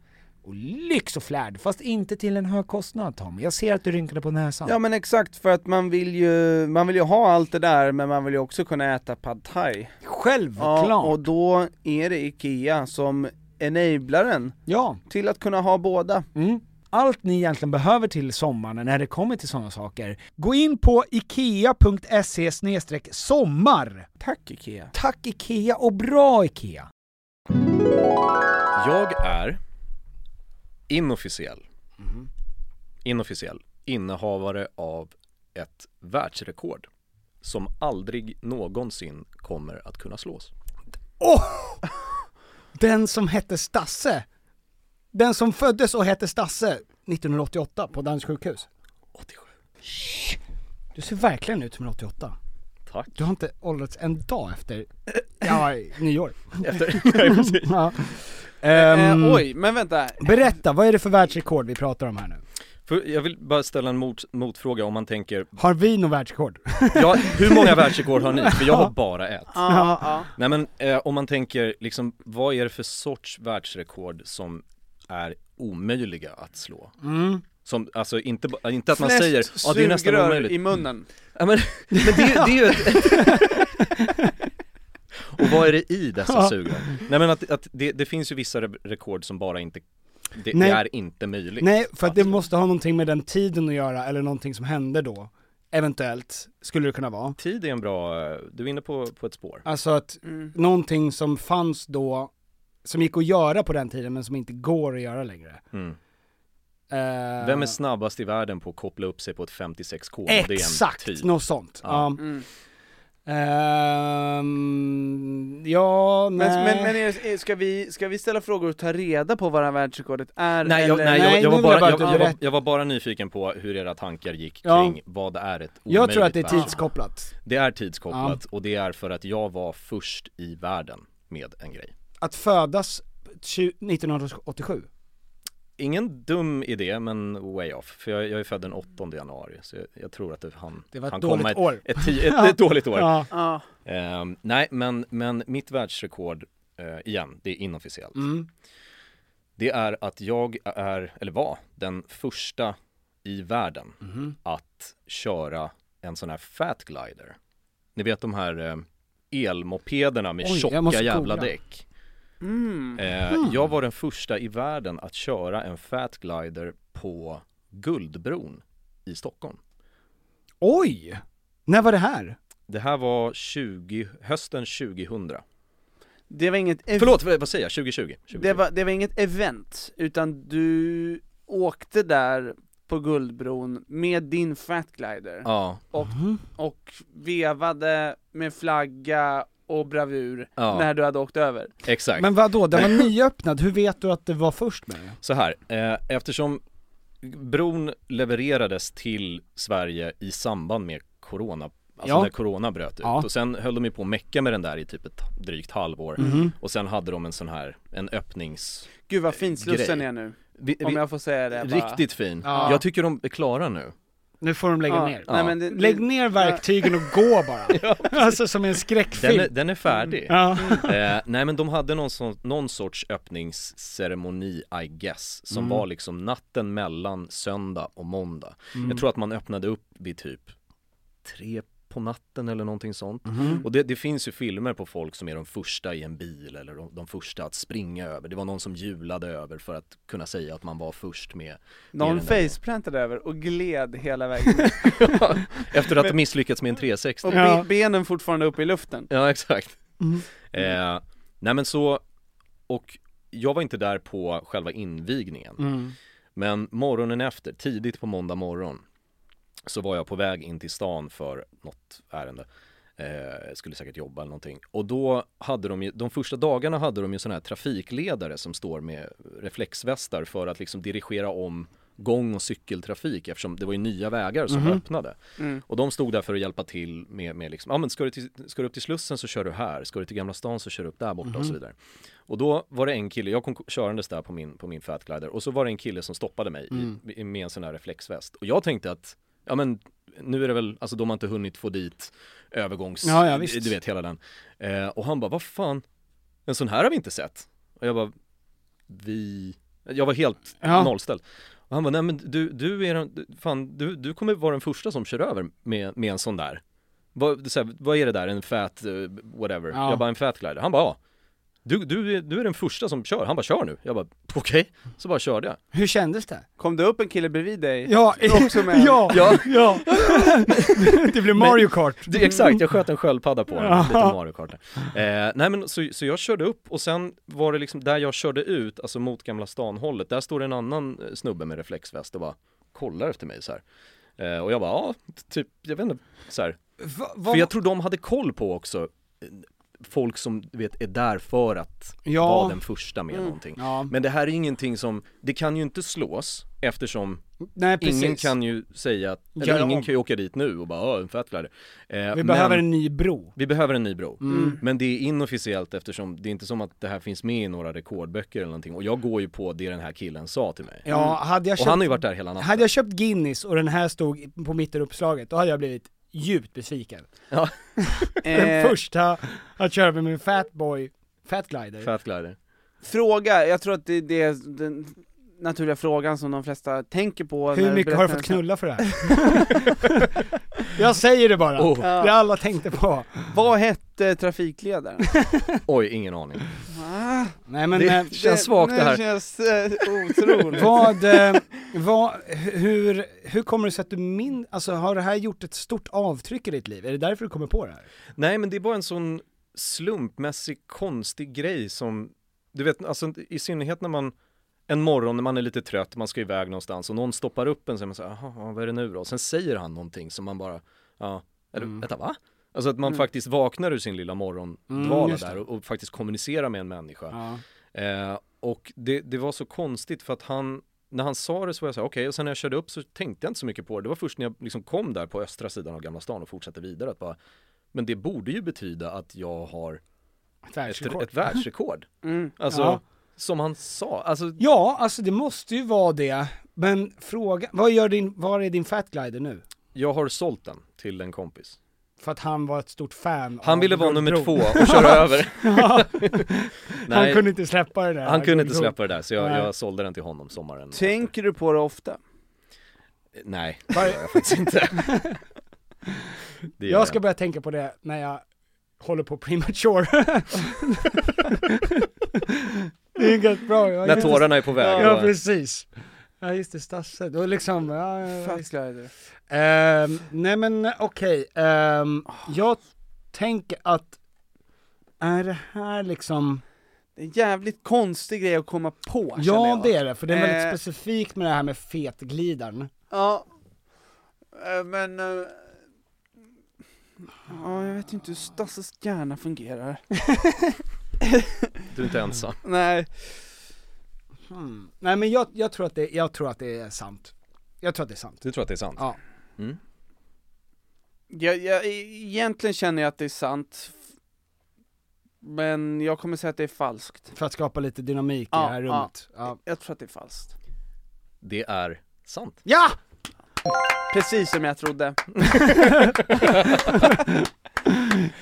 Speaker 5: och lyx och flärd, fast inte till en hög kostnad Tom. Jag ser att du rynkade på näsan.
Speaker 3: Ja men exakt, för att man vill ju, man vill ju ha allt det där men man vill ju också kunna äta pad thai.
Speaker 5: Självklart!
Speaker 3: Ja, och då är det IKEA som enablaren
Speaker 5: ja.
Speaker 3: till att kunna ha båda.
Speaker 5: Mm. Allt ni egentligen behöver till sommaren när det kommer till sådana saker.
Speaker 2: Gå in på ikea.se sommar.
Speaker 3: Tack IKEA.
Speaker 5: Tack IKEA och bra IKEA!
Speaker 4: Jag är inofficiell,
Speaker 5: Mm-hmm.
Speaker 4: inofficiell innehavare av ett världsrekord som aldrig någonsin kommer att kunna slås.
Speaker 5: Den som hette Stasse. Den som föddes och hette Stasse 1988 på Danderyds sjukhus.
Speaker 4: 87.
Speaker 5: Du ser verkligen ut som en 88.
Speaker 4: Tack.
Speaker 5: Du har inte åldrats en dag efter, ja, nyår.
Speaker 4: Efter, Ja, precis.
Speaker 5: Ja.
Speaker 3: Eh,
Speaker 4: Mm.
Speaker 5: Ehm,
Speaker 3: oj, men vänta.
Speaker 5: berätta, vad är det för världsrekord vi pratar om här nu?
Speaker 4: För jag vill bara ställa en mot, motfråga om man tänker,
Speaker 5: Har vi något världsrekord?
Speaker 4: ja, hur många världsrekord har ni? För jag har bara ett.
Speaker 3: Ja, ja.
Speaker 4: Nej men eh, om man tänker liksom, vad är det för sorts världsrekord som är omöjliga att slå? Som, alltså inte, ba- inte att man
Speaker 3: Mm. Flest
Speaker 4: säger, ja det är nästan
Speaker 3: sugrör
Speaker 4: omöjligt.
Speaker 3: i munnen.
Speaker 4: Ja, men, men det, är- det är ju ett... Och vad är det i dessa sugrör? Nej men att, att det, det finns ju vissa re- rekord som bara inte, det,
Speaker 5: Nej.
Speaker 4: det är inte möjligt.
Speaker 5: Nej, för att det måste ha någonting med den tiden att göra, eller någonting som hände då. Eventuellt, skulle det kunna vara.
Speaker 4: Tid är en bra, eh, du är inne på, på ett spår.
Speaker 5: Alltså att någonting som fanns då, som gick att göra på den tiden men som inte går att göra längre.
Speaker 4: Mm.
Speaker 5: Eh,
Speaker 4: Vem är snabbast i världen på att koppla upp sig på ett 56k?
Speaker 5: Exakt,
Speaker 4: Det är en typ. tid.
Speaker 5: något sånt. Ja.
Speaker 4: Ja.
Speaker 3: Mm.
Speaker 5: Ehm, ja, nej.
Speaker 3: Men, men, men är, är- ska, vi, ska vi ställa frågor och ta reda på vad det här världsrekordet är?
Speaker 4: Nej, jag,
Speaker 3: eller?
Speaker 4: nej,
Speaker 5: Nej,
Speaker 4: jag,
Speaker 5: nu
Speaker 4: jag, var
Speaker 5: vill jag
Speaker 4: bara,
Speaker 5: bara
Speaker 4: jag,
Speaker 5: att du
Speaker 4: jag, var,
Speaker 5: berätt-
Speaker 4: jag var bara nyfiken på hur era tankar gick
Speaker 5: Ja.
Speaker 4: kring vad är ett omöjligt
Speaker 5: jag tror att det är
Speaker 4: världsrekord.
Speaker 5: tidskopplat.
Speaker 4: Det är tidskopplat och det är för att jag var först i världen med en grej.
Speaker 5: Att födas tju- 1987.
Speaker 4: Ingen dum idé men way off, för jag, jag är född den 8 januari så jag, jag tror att det han
Speaker 5: Det var ett
Speaker 4: han
Speaker 5: dåligt
Speaker 4: komma
Speaker 5: år.
Speaker 4: Ett, ett, ti- ett, ett dåligt år.
Speaker 5: Ja.
Speaker 3: Ja.
Speaker 4: Ehm, nej men, men mitt världsrekord, eh, igen, det är inofficiellt.
Speaker 5: Mm.
Speaker 4: Det är att jag är, eller var, den första i världen
Speaker 5: Mm-hmm.
Speaker 4: att köra en sån här fat glider. Ni vet de här eh, elmopederna med
Speaker 5: Oj, jag måste
Speaker 4: tjocka jävla
Speaker 5: googla. Hmm.
Speaker 4: däck. Eh, Jag var den första i världen att köra en fat glider på Guldbron i Stockholm.
Speaker 5: Oj! När var det här?
Speaker 4: Det här var 20, hösten 2000.
Speaker 3: Det var inget ev-
Speaker 4: Förlåt, vad vad säger jag? 2020? 2020.
Speaker 3: Eh, Det var, det var inget event, utan du åkte där på Guldbron med din fatglider
Speaker 4: Ja,
Speaker 3: och,
Speaker 5: Mhm.
Speaker 3: och vevade med flagga och bravur
Speaker 4: Ja.
Speaker 3: när du hade åkt över.
Speaker 4: exakt.
Speaker 5: Men vad då? den var nyöppnad, hur vet du att det var först med det?
Speaker 4: Så här, eh, eftersom bron levererades till Sverige i samband med corona Alltså
Speaker 5: Ja.
Speaker 4: när corona bröt ut
Speaker 5: Ja.
Speaker 4: och sen höll de ju på att mecka med den där i typ ett drygt halvår
Speaker 3: Mhm.
Speaker 4: och sen hade de en sån här, en öppnings
Speaker 3: Gud vad fin slussen
Speaker 4: Grej.
Speaker 3: är nu.
Speaker 4: vi,
Speaker 3: Om
Speaker 4: vi,
Speaker 3: jag får säga det bara.
Speaker 4: Riktigt fin,
Speaker 5: Ja.
Speaker 4: jag tycker de är klara nu
Speaker 5: Nu får de lägga
Speaker 3: Ja,
Speaker 5: ner.
Speaker 3: Nej, men det,
Speaker 5: Lägg ner verktygen och gå bara. alltså som en skräckfilm.
Speaker 4: Den är, den är färdig
Speaker 5: Ja.
Speaker 4: eh, Nej men de hade någon, sån, någon sorts öppningsceremoni I guess Som var liksom natten mellan söndag och måndag Jag tror att man öppnade upp vid typ tre på natten eller någonting sånt. Och det, det finns ju filmer på folk som är de första i en bil eller de, de första att springa över. Det var någon som julade över för att kunna säga att man var först med med
Speaker 3: någon
Speaker 4: den där-
Speaker 3: faceplantade över och gled hela vägen.
Speaker 4: Efter att ha misslyckats med en 360.
Speaker 3: Och be- benen fortfarande uppe i luften.
Speaker 4: Ja, exakt. Eh, nej men så, och jag var inte där på själva invigningen. Men morgonen efter, tidigt på måndag morgon, så var jag på väg in till stan för något ärende. Eh, skulle säkert jobba eller någonting. Och då hade de ju, de första dagarna hade de ju sådana här trafikledare som står med reflexvästar för att liksom dirigera om gång och cykeltrafik eftersom det var ju nya vägar som öppnade. Och de stod där för att hjälpa till med, med liksom, ja men ska du, till, ska du upp till Slussen så kör du här, ska du till Gamla stan så kör du upp där borta och så vidare. Och då var det en kille, jag kom k- körandes där på min, på min Fatglider och så var det en kille som stoppade mig
Speaker 5: Mm.
Speaker 4: i, i- med en sån här reflexväst. Och jag tänkte att, ja men nu är det väl, alltså de har inte hunnit få dit övergångs,
Speaker 5: Ja, ja, visst.
Speaker 4: du vet hela den. Eh, och han bara, vad fan, en sån här har vi inte sett. Och jag bara, vi, jag var helt
Speaker 5: Ja.
Speaker 4: nollställd. Och han bara, nej men du, du är den, du- fan du, du kommer vara den första som kör över med, med en sån där. Vad, så här, vad är det där, en fat, eh, whatever?
Speaker 5: Ja.
Speaker 4: Jag bara, en fat glider. Han bara, ja. Du, du, är- du är den första som kör. Han bara, kör nu. Jag bara, okej. Så bara körde jag.
Speaker 5: Hur kändes det?
Speaker 3: Kom det upp en kille bredvid dig?
Speaker 5: Ja,
Speaker 3: Också med-
Speaker 5: ja, ja. det blev Mario Kart.
Speaker 4: Det, exakt, jag sköt en sköldpadda på den, lite Mario Kart. där. Eh, nej men så, så jag körde upp och sen var det liksom där jag körde ut, alltså mot Gamla stan-hållet, där står det en annan eh, snubbe med reflexväst och bara kollar efter mig så här. Eh, och jag bara, ja, typ, jag vet inte, så här. För jag tror de hade koll på också eh, folk som du vet är där för att
Speaker 5: Ja. Mm.
Speaker 4: vara den första med någonting.
Speaker 5: Ja.
Speaker 4: Men det här är ingenting som, det kan ju inte slås eftersom
Speaker 5: Nej precis.
Speaker 4: ingen kan ju säga, att, eller
Speaker 5: Göra
Speaker 4: ingen
Speaker 5: om.
Speaker 4: kan ju åka dit nu och bara "Ja, en fatglider. Eh,
Speaker 5: Vi behöver
Speaker 4: men-
Speaker 5: en ny Mm. bro.
Speaker 4: vi behöver en ny bro. Mm. Men det är inofficiellt eftersom det är inte som att det här finns med i några rekordböcker eller någonting. Och jag går ju på det den här killen sa till mig.
Speaker 5: Ja, hade jag
Speaker 4: Mm. Och
Speaker 5: köpt,
Speaker 4: han har ju varit där hela natten.
Speaker 5: hade jag köpt Guinness och den här stod på mitten av uppslaget, då hade jag blivit djupt besviken.
Speaker 4: Ja,
Speaker 5: Den
Speaker 3: Eh,
Speaker 5: första att köra med min Fatboy Fatglider.
Speaker 4: fatglider.
Speaker 3: Fråga, jag tror att det, det är den naturliga frågan som de flesta tänker på när
Speaker 5: Hur mycket har du
Speaker 3: berättar
Speaker 5: fått
Speaker 3: en sån-
Speaker 5: knulla för det här? jag säger det bara,
Speaker 4: Oh.
Speaker 5: det alla tänkte på.
Speaker 3: Vad hette trafikledaren?
Speaker 4: Oj, ingen aning.
Speaker 3: Ah,
Speaker 5: Nej men,
Speaker 4: det
Speaker 5: eh,
Speaker 4: känns svagt det här.
Speaker 3: känns eh, otroligt.
Speaker 5: vad, eh, vad, hur, hur kommer det sig att du min, alltså har det här gjort ett stort avtryck i ditt liv? Är det därför du kommer på det här?
Speaker 4: Nej, men det är bara en sån slumpmässig konstig grej som, du vet, alltså i synnerhet när man en morgon när man är lite trött, man ska iväg någonstans och någon stoppar upp en så är man så här, "Jaha, vad är det nu då? Och sen säger han någonting som man bara, ja, eller vänta va? Alltså att man faktiskt vaknar ur sin lilla morgondvala där och, och faktiskt kommunicerar med en människa. Eh, och det, det var så konstigt för att han, när han sa det så var jag så här, okej, och sen när jag körde upp så tänkte jag inte så mycket på det. Det var först när jag liksom kom där på östra sidan av Gamla stan och fortsatte vidare att bara, men det borde ju betyda att jag har ett,
Speaker 5: Världsrekord. Mm.
Speaker 4: ett världsrekord. Alltså,
Speaker 5: Ja.
Speaker 4: som han sa, alltså
Speaker 5: Ja, alltså det måste ju vara det, men fråga, vad gör din, var är din Fatglider nu?
Speaker 4: jag har sålt den till en kompis.
Speaker 5: För att han var ett stort fan
Speaker 4: Han
Speaker 5: av
Speaker 4: ville vara
Speaker 5: Guldbron.
Speaker 4: nummer två och köra över.
Speaker 5: Ja, han
Speaker 4: Nej,
Speaker 5: kunde inte släppa det där.
Speaker 4: han kunde inte
Speaker 5: Guldbron.
Speaker 4: släppa det där så jag,
Speaker 5: Nej.
Speaker 4: jag sålde den till honom sommaren.
Speaker 3: Tänker du på det ofta?
Speaker 4: Nej, det gör jag faktiskt inte. Det gör
Speaker 5: Jag ska börja tänka på det när jag håller på premature. det är ganska bra. Jag
Speaker 4: När tårarna är på väg.
Speaker 5: Ja,
Speaker 4: då-
Speaker 5: precis. Ja just det, Stasse. Då liksom, ja, ja, ja.
Speaker 3: Fatslider.
Speaker 5: Ehm, nej men okej, Ehm, jag tänker att, är det här liksom,
Speaker 3: Det är en jävligt konstig grej att komma på känner
Speaker 5: ja
Speaker 3: jag.
Speaker 5: det är det, för det är väldigt
Speaker 3: Eh.
Speaker 5: specifikt med det här med fetglidaren.
Speaker 3: Ja, Eh, men... eh, Ja, jag vet ju inte hur Stasses hjärna fungerar.
Speaker 4: Du är inte ensam.
Speaker 3: Nej.
Speaker 5: Hmm. Nej men jag, jag, tror att det, jag tror att det är sant. Jag tror att det är sant.
Speaker 4: Du tror att det är sant?
Speaker 5: Ja.
Speaker 4: Mm.
Speaker 3: Jag, jag, e- egentligen känner jag att det är sant. f- Men jag kommer säga att det är falskt.
Speaker 5: För att skapa lite dynamik i
Speaker 3: Ja,
Speaker 5: det här
Speaker 3: ja.
Speaker 5: rummet. Ja!
Speaker 3: Jag tror att det är falskt.
Speaker 4: Det är sant.
Speaker 5: ja!
Speaker 3: Precis som jag trodde.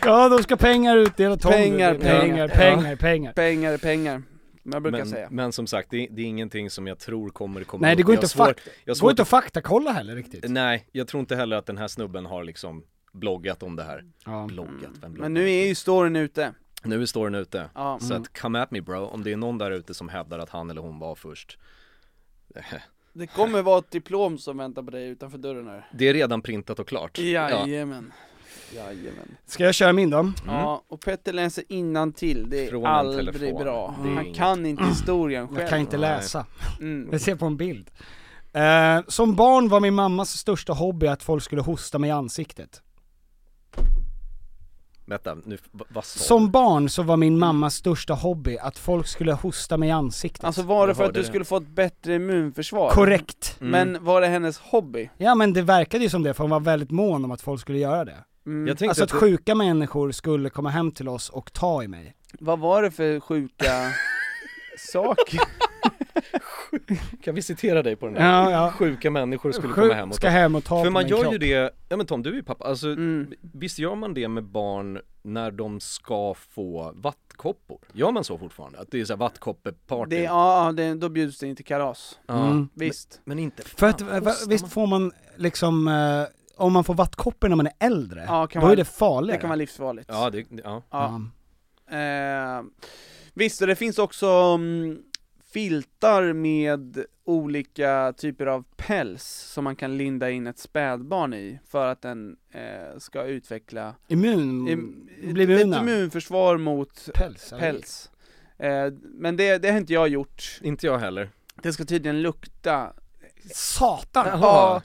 Speaker 5: Ja, då ska pengar utdelas. Tom,
Speaker 3: Pengar,
Speaker 5: det är pengar,
Speaker 3: pengar.
Speaker 5: pengar, pengar.
Speaker 3: Pengar är pengar. Som jag brukar
Speaker 4: Men,
Speaker 3: säga.
Speaker 4: men som sagt, det är, det är ingenting som jag tror kommer komma
Speaker 5: Nej, det
Speaker 4: upp.
Speaker 5: går
Speaker 4: Jag
Speaker 5: inte
Speaker 4: har svårt-
Speaker 5: att
Speaker 4: jag har
Speaker 5: Går
Speaker 4: svårt
Speaker 5: inte att faktakolla heller riktigt.
Speaker 4: Nej, jag tror inte heller att den här snubben har liksom bloggat om det här.
Speaker 5: Mm.
Speaker 4: Bloggat, vem bloggar?
Speaker 3: Men nu är ju storyn ute.
Speaker 4: Nu står den ute.
Speaker 3: Ja.
Speaker 4: Så
Speaker 5: mm.
Speaker 4: att come at me bro, om det är någon där ute som hävdar att han eller hon var först.
Speaker 3: Det kommer vara ett diplom som väntar på dig utanför dörren här.
Speaker 4: Det är redan printat och klart.
Speaker 3: Jajamän. Jajamän.
Speaker 5: Ska jag köra min då?
Speaker 3: Ja, och Petter läser innan till. det är
Speaker 4: Mm. Från en
Speaker 3: aldrig
Speaker 4: telefon.
Speaker 3: bra.
Speaker 4: Det är
Speaker 3: Han
Speaker 4: inget-
Speaker 3: kan inte historien själv.
Speaker 5: Jag kan inte läsa.
Speaker 3: Mm.
Speaker 5: Jag ser på en bild. Eh, som barn var min mammas största hobby att folk skulle hosta mig i ansiktet.
Speaker 4: Vänta, nu, v- vad sa
Speaker 5: Som barn så var min mammas största hobby att folk skulle hosta mig i ansiktet.
Speaker 3: Alltså var det
Speaker 4: Jag
Speaker 3: för att
Speaker 4: hörde
Speaker 3: du
Speaker 4: det.
Speaker 3: skulle få ett bättre immunförsvar?
Speaker 5: Korrekt.
Speaker 4: Mm.
Speaker 3: Men var det hennes hobby?
Speaker 5: Ja men det verkade ju som det, för hon var väldigt mån om att folk skulle göra det.
Speaker 3: Mm.
Speaker 4: Jag tänkte
Speaker 5: Alltså att
Speaker 4: att,
Speaker 5: sjuka människor skulle komma hem till oss och ta i mig.
Speaker 3: Vad var det för sjuka saker?
Speaker 4: kan vi citera dig på den här?
Speaker 5: Ja, ja.
Speaker 4: Sjuka människor skulle komma hem
Speaker 5: Sjuk
Speaker 4: och
Speaker 5: ska hem och ta
Speaker 4: För
Speaker 5: på
Speaker 4: man
Speaker 5: min
Speaker 4: gör
Speaker 5: kropp.
Speaker 4: ju det, ja men Tom du är ju pappa, alltså
Speaker 3: Mm.
Speaker 4: visst gör man det med barn när de ska få vattkoppor? Gör man så fortfarande? Att det är såhär vattkoppeparty?
Speaker 3: Det, ja, det, då bjuds det in till kalas.
Speaker 4: Ja.
Speaker 5: Mm.
Speaker 3: Visst.
Speaker 4: Men inte
Speaker 5: För att,
Speaker 4: fan,
Speaker 5: va-
Speaker 4: kostar
Speaker 5: visst
Speaker 4: man?
Speaker 5: får man liksom, eh, om man får vattkoppor när man är äldre,
Speaker 3: Ja, kan
Speaker 5: då
Speaker 3: vara-
Speaker 5: är det farligare.
Speaker 3: Det kan vara livsfarligt.
Speaker 4: Ja, det, ja.
Speaker 3: Ja. Eh, visst, och det finns också mm, filtar med olika typer av päls som man kan linda in ett spädbarn i för att den eh, ska utveckla
Speaker 5: Immun,
Speaker 3: im-
Speaker 5: blir immun.
Speaker 3: ett immunförsvar mot
Speaker 5: Päls. eller?
Speaker 3: päls. Eh, men det, det har inte jag gjort.
Speaker 4: Inte jag heller.
Speaker 3: Det ska tydligen lukta
Speaker 5: Satan! ah,
Speaker 3: Ja,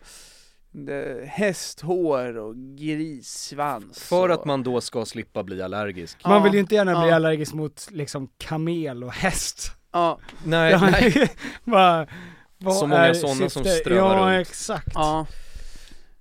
Speaker 3: det- hästhår och grissvans
Speaker 4: För
Speaker 3: och,
Speaker 4: att man då ska slippa bli allergisk.
Speaker 3: Ja,
Speaker 5: Man vill ju inte gärna bli
Speaker 3: ja.
Speaker 5: allergisk mot liksom kamel och häst.
Speaker 3: Ja,
Speaker 4: Nej,
Speaker 5: Ja,
Speaker 4: nej.
Speaker 5: vad- vad
Speaker 4: Så många
Speaker 5: är
Speaker 4: sådana som
Speaker 5: syftet?
Speaker 4: strövar
Speaker 5: Ja,
Speaker 4: runt.
Speaker 5: exakt.
Speaker 3: ja,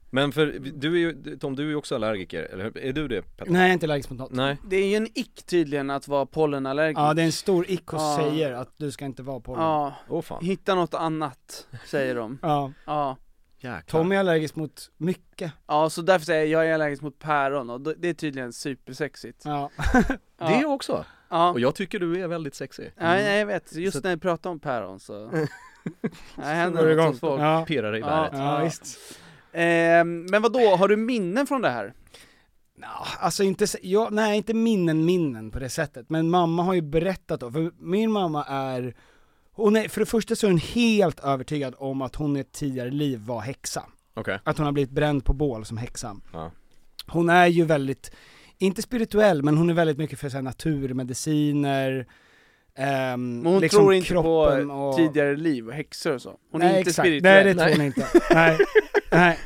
Speaker 4: Men för, du är ju, Tom du är ju också allergiker, eller hur? Är du det Petter?
Speaker 5: Nej, jag är inte allergisk mot något.
Speaker 4: Nej.
Speaker 3: det är ju en ick tydligen att vara pollenallergisk
Speaker 5: Ja, det är en stor ick och
Speaker 3: Ja.
Speaker 5: säger att du ska inte vara på den.
Speaker 3: Ja,
Speaker 4: Åh fan.
Speaker 3: hitta något annat, säger de.
Speaker 5: Ja.
Speaker 3: Ja,
Speaker 4: Jäklar.
Speaker 5: Tommy är allergisk mot mycket.
Speaker 3: ja så därför säger jag, jag är allergisk mot päron och det det är tydligen supersexigt.
Speaker 5: Ja.
Speaker 4: Det är jag också.
Speaker 3: Ja,
Speaker 4: Och jag tycker du är väldigt sexig.
Speaker 3: ja
Speaker 5: Mm.
Speaker 3: nej, jag vet, just
Speaker 4: Så-
Speaker 3: när jag pratar om päron så, det
Speaker 5: Går
Speaker 3: händer
Speaker 5: igång.
Speaker 3: något hos folk.
Speaker 5: Ja.
Speaker 4: Pirrar dig i
Speaker 3: Ja.
Speaker 4: bäret.
Speaker 5: Ja, visst.
Speaker 3: Ehm, men vad då har du minnen från det här?
Speaker 5: Ja, alltså inte, se- ja, nej inte minnen minnen på det sättet, men mamma har ju berättat då, för min mamma är, hon är, för det första så är hon helt övertygad om att hon i ett tidigare liv var häxa.
Speaker 4: Okej.
Speaker 5: Att hon har blivit bränd på bål som häxa.
Speaker 4: Ja.
Speaker 5: Hon är ju väldigt, inte spirituell, men hon är väldigt mycket för så här, naturmediciner, ehm,
Speaker 3: Men hon
Speaker 5: liksom
Speaker 3: tror inte
Speaker 5: kroppen
Speaker 3: på
Speaker 5: och...
Speaker 3: tidigare liv och häxor och så? Hon är
Speaker 5: nej,
Speaker 3: inte
Speaker 5: exakt.
Speaker 3: spirituell?
Speaker 5: Nej det tror hon inte. Nej. nej.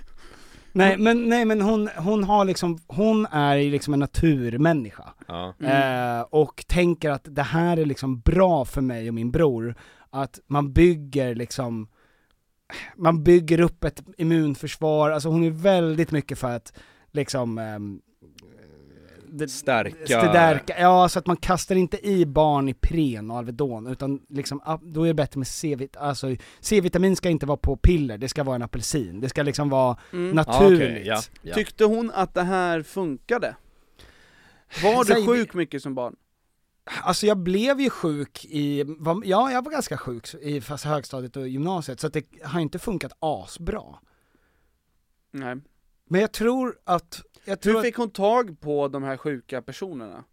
Speaker 5: Nej men, nej, men hon, hon har liksom, hon är ju liksom en naturmänniska.
Speaker 4: Ja.
Speaker 5: Eh, och tänker att det här är liksom bra för mig och min bror, att man bygger liksom, man bygger upp ett immunförsvar, alltså hon är väldigt mycket för att liksom ehm, det-
Speaker 4: Stärka.
Speaker 5: Stärka, ja så att man kastar inte i barn i Ipren och Alvedon utan liksom, ah, då är det bättre med C-vitamin, alltså C-vitamin ska inte vara på piller, det ska vara en apelsin, det ska liksom vara
Speaker 4: Ja,
Speaker 5: naturligt.
Speaker 4: okej, ja, ja.
Speaker 3: Mm. Tyckte hon att det här funkade? Var du
Speaker 5: Säg-
Speaker 3: sjuk mycket som barn?
Speaker 5: Alltså jag blev ju sjuk i, var, ja jag var ganska sjuk i fast högstadiet och gymnasiet, så att det har inte funkat asbra.
Speaker 3: Nej.
Speaker 5: Men jag tror att, jag tror
Speaker 3: Hur
Speaker 5: att,
Speaker 3: fick hon tag på de här sjuka personerna?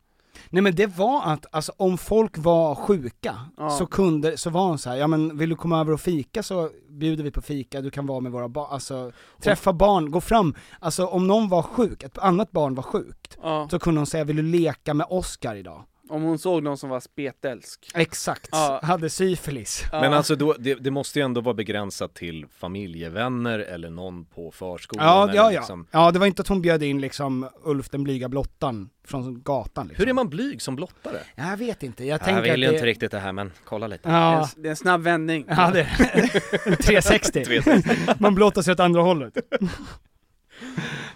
Speaker 5: nej men det var att, alltså om folk var sjuka,
Speaker 3: Ja.
Speaker 5: så kunde, så var hon så här, ja men vill du komma över och fika så bjuder vi på fika, du kan vara med våra barn, alltså träffa barn, gå fram, alltså om någon var sjuk, ett annat barn var sjukt,
Speaker 3: Ja.
Speaker 5: så kunde hon säga, vill du leka med Oscar idag?
Speaker 3: Om hon såg någon som var spetälsk.
Speaker 5: Exakt,
Speaker 3: Ja.
Speaker 5: hade syfilis.
Speaker 3: Ja.
Speaker 4: Men alltså då, det, det måste ju ändå vara begränsat till familjevänner eller någon på förskolan
Speaker 5: Ja,
Speaker 4: eller
Speaker 5: ja, ja.
Speaker 4: liksom-
Speaker 5: ja, det var inte att hon bjöd in liksom Ulf den blyga blottan från gatan liksom.
Speaker 4: Hur är man blyg som blottare?
Speaker 5: Jag vet inte, jag tänker att det...
Speaker 4: riktigt det här men kolla lite.
Speaker 3: Det är
Speaker 5: Ja,
Speaker 3: en- Det är en snabb vändning.
Speaker 5: ja det... 360. Man blottar sig åt andra hållet.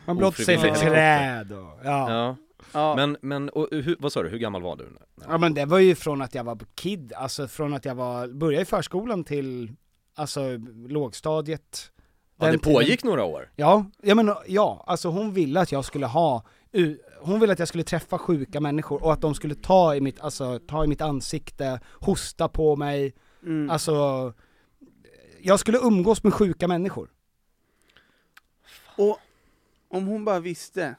Speaker 5: Man blottar sig för
Speaker 4: Ofrivilligt
Speaker 5: träd och, ja.
Speaker 4: Ja.
Speaker 3: Ja.
Speaker 4: Men, men och, hur, vad sa du, hur gammal var du?
Speaker 5: Ja men det var ju från att jag var kid, alltså från att jag var, började i förskolan till, alltså lågstadiet.
Speaker 4: Ja,
Speaker 5: Den
Speaker 4: det
Speaker 5: tiden-
Speaker 4: pågick några år.
Speaker 5: Ja, jag menar, ja, alltså hon ville att jag skulle ha, u- hon ville att jag skulle träffa sjuka människor och att de skulle ta i mitt, alltså ta i mitt ansikte, hosta på mig,
Speaker 3: Mm.
Speaker 5: alltså jag skulle umgås med sjuka människor.
Speaker 3: Och om hon bara visste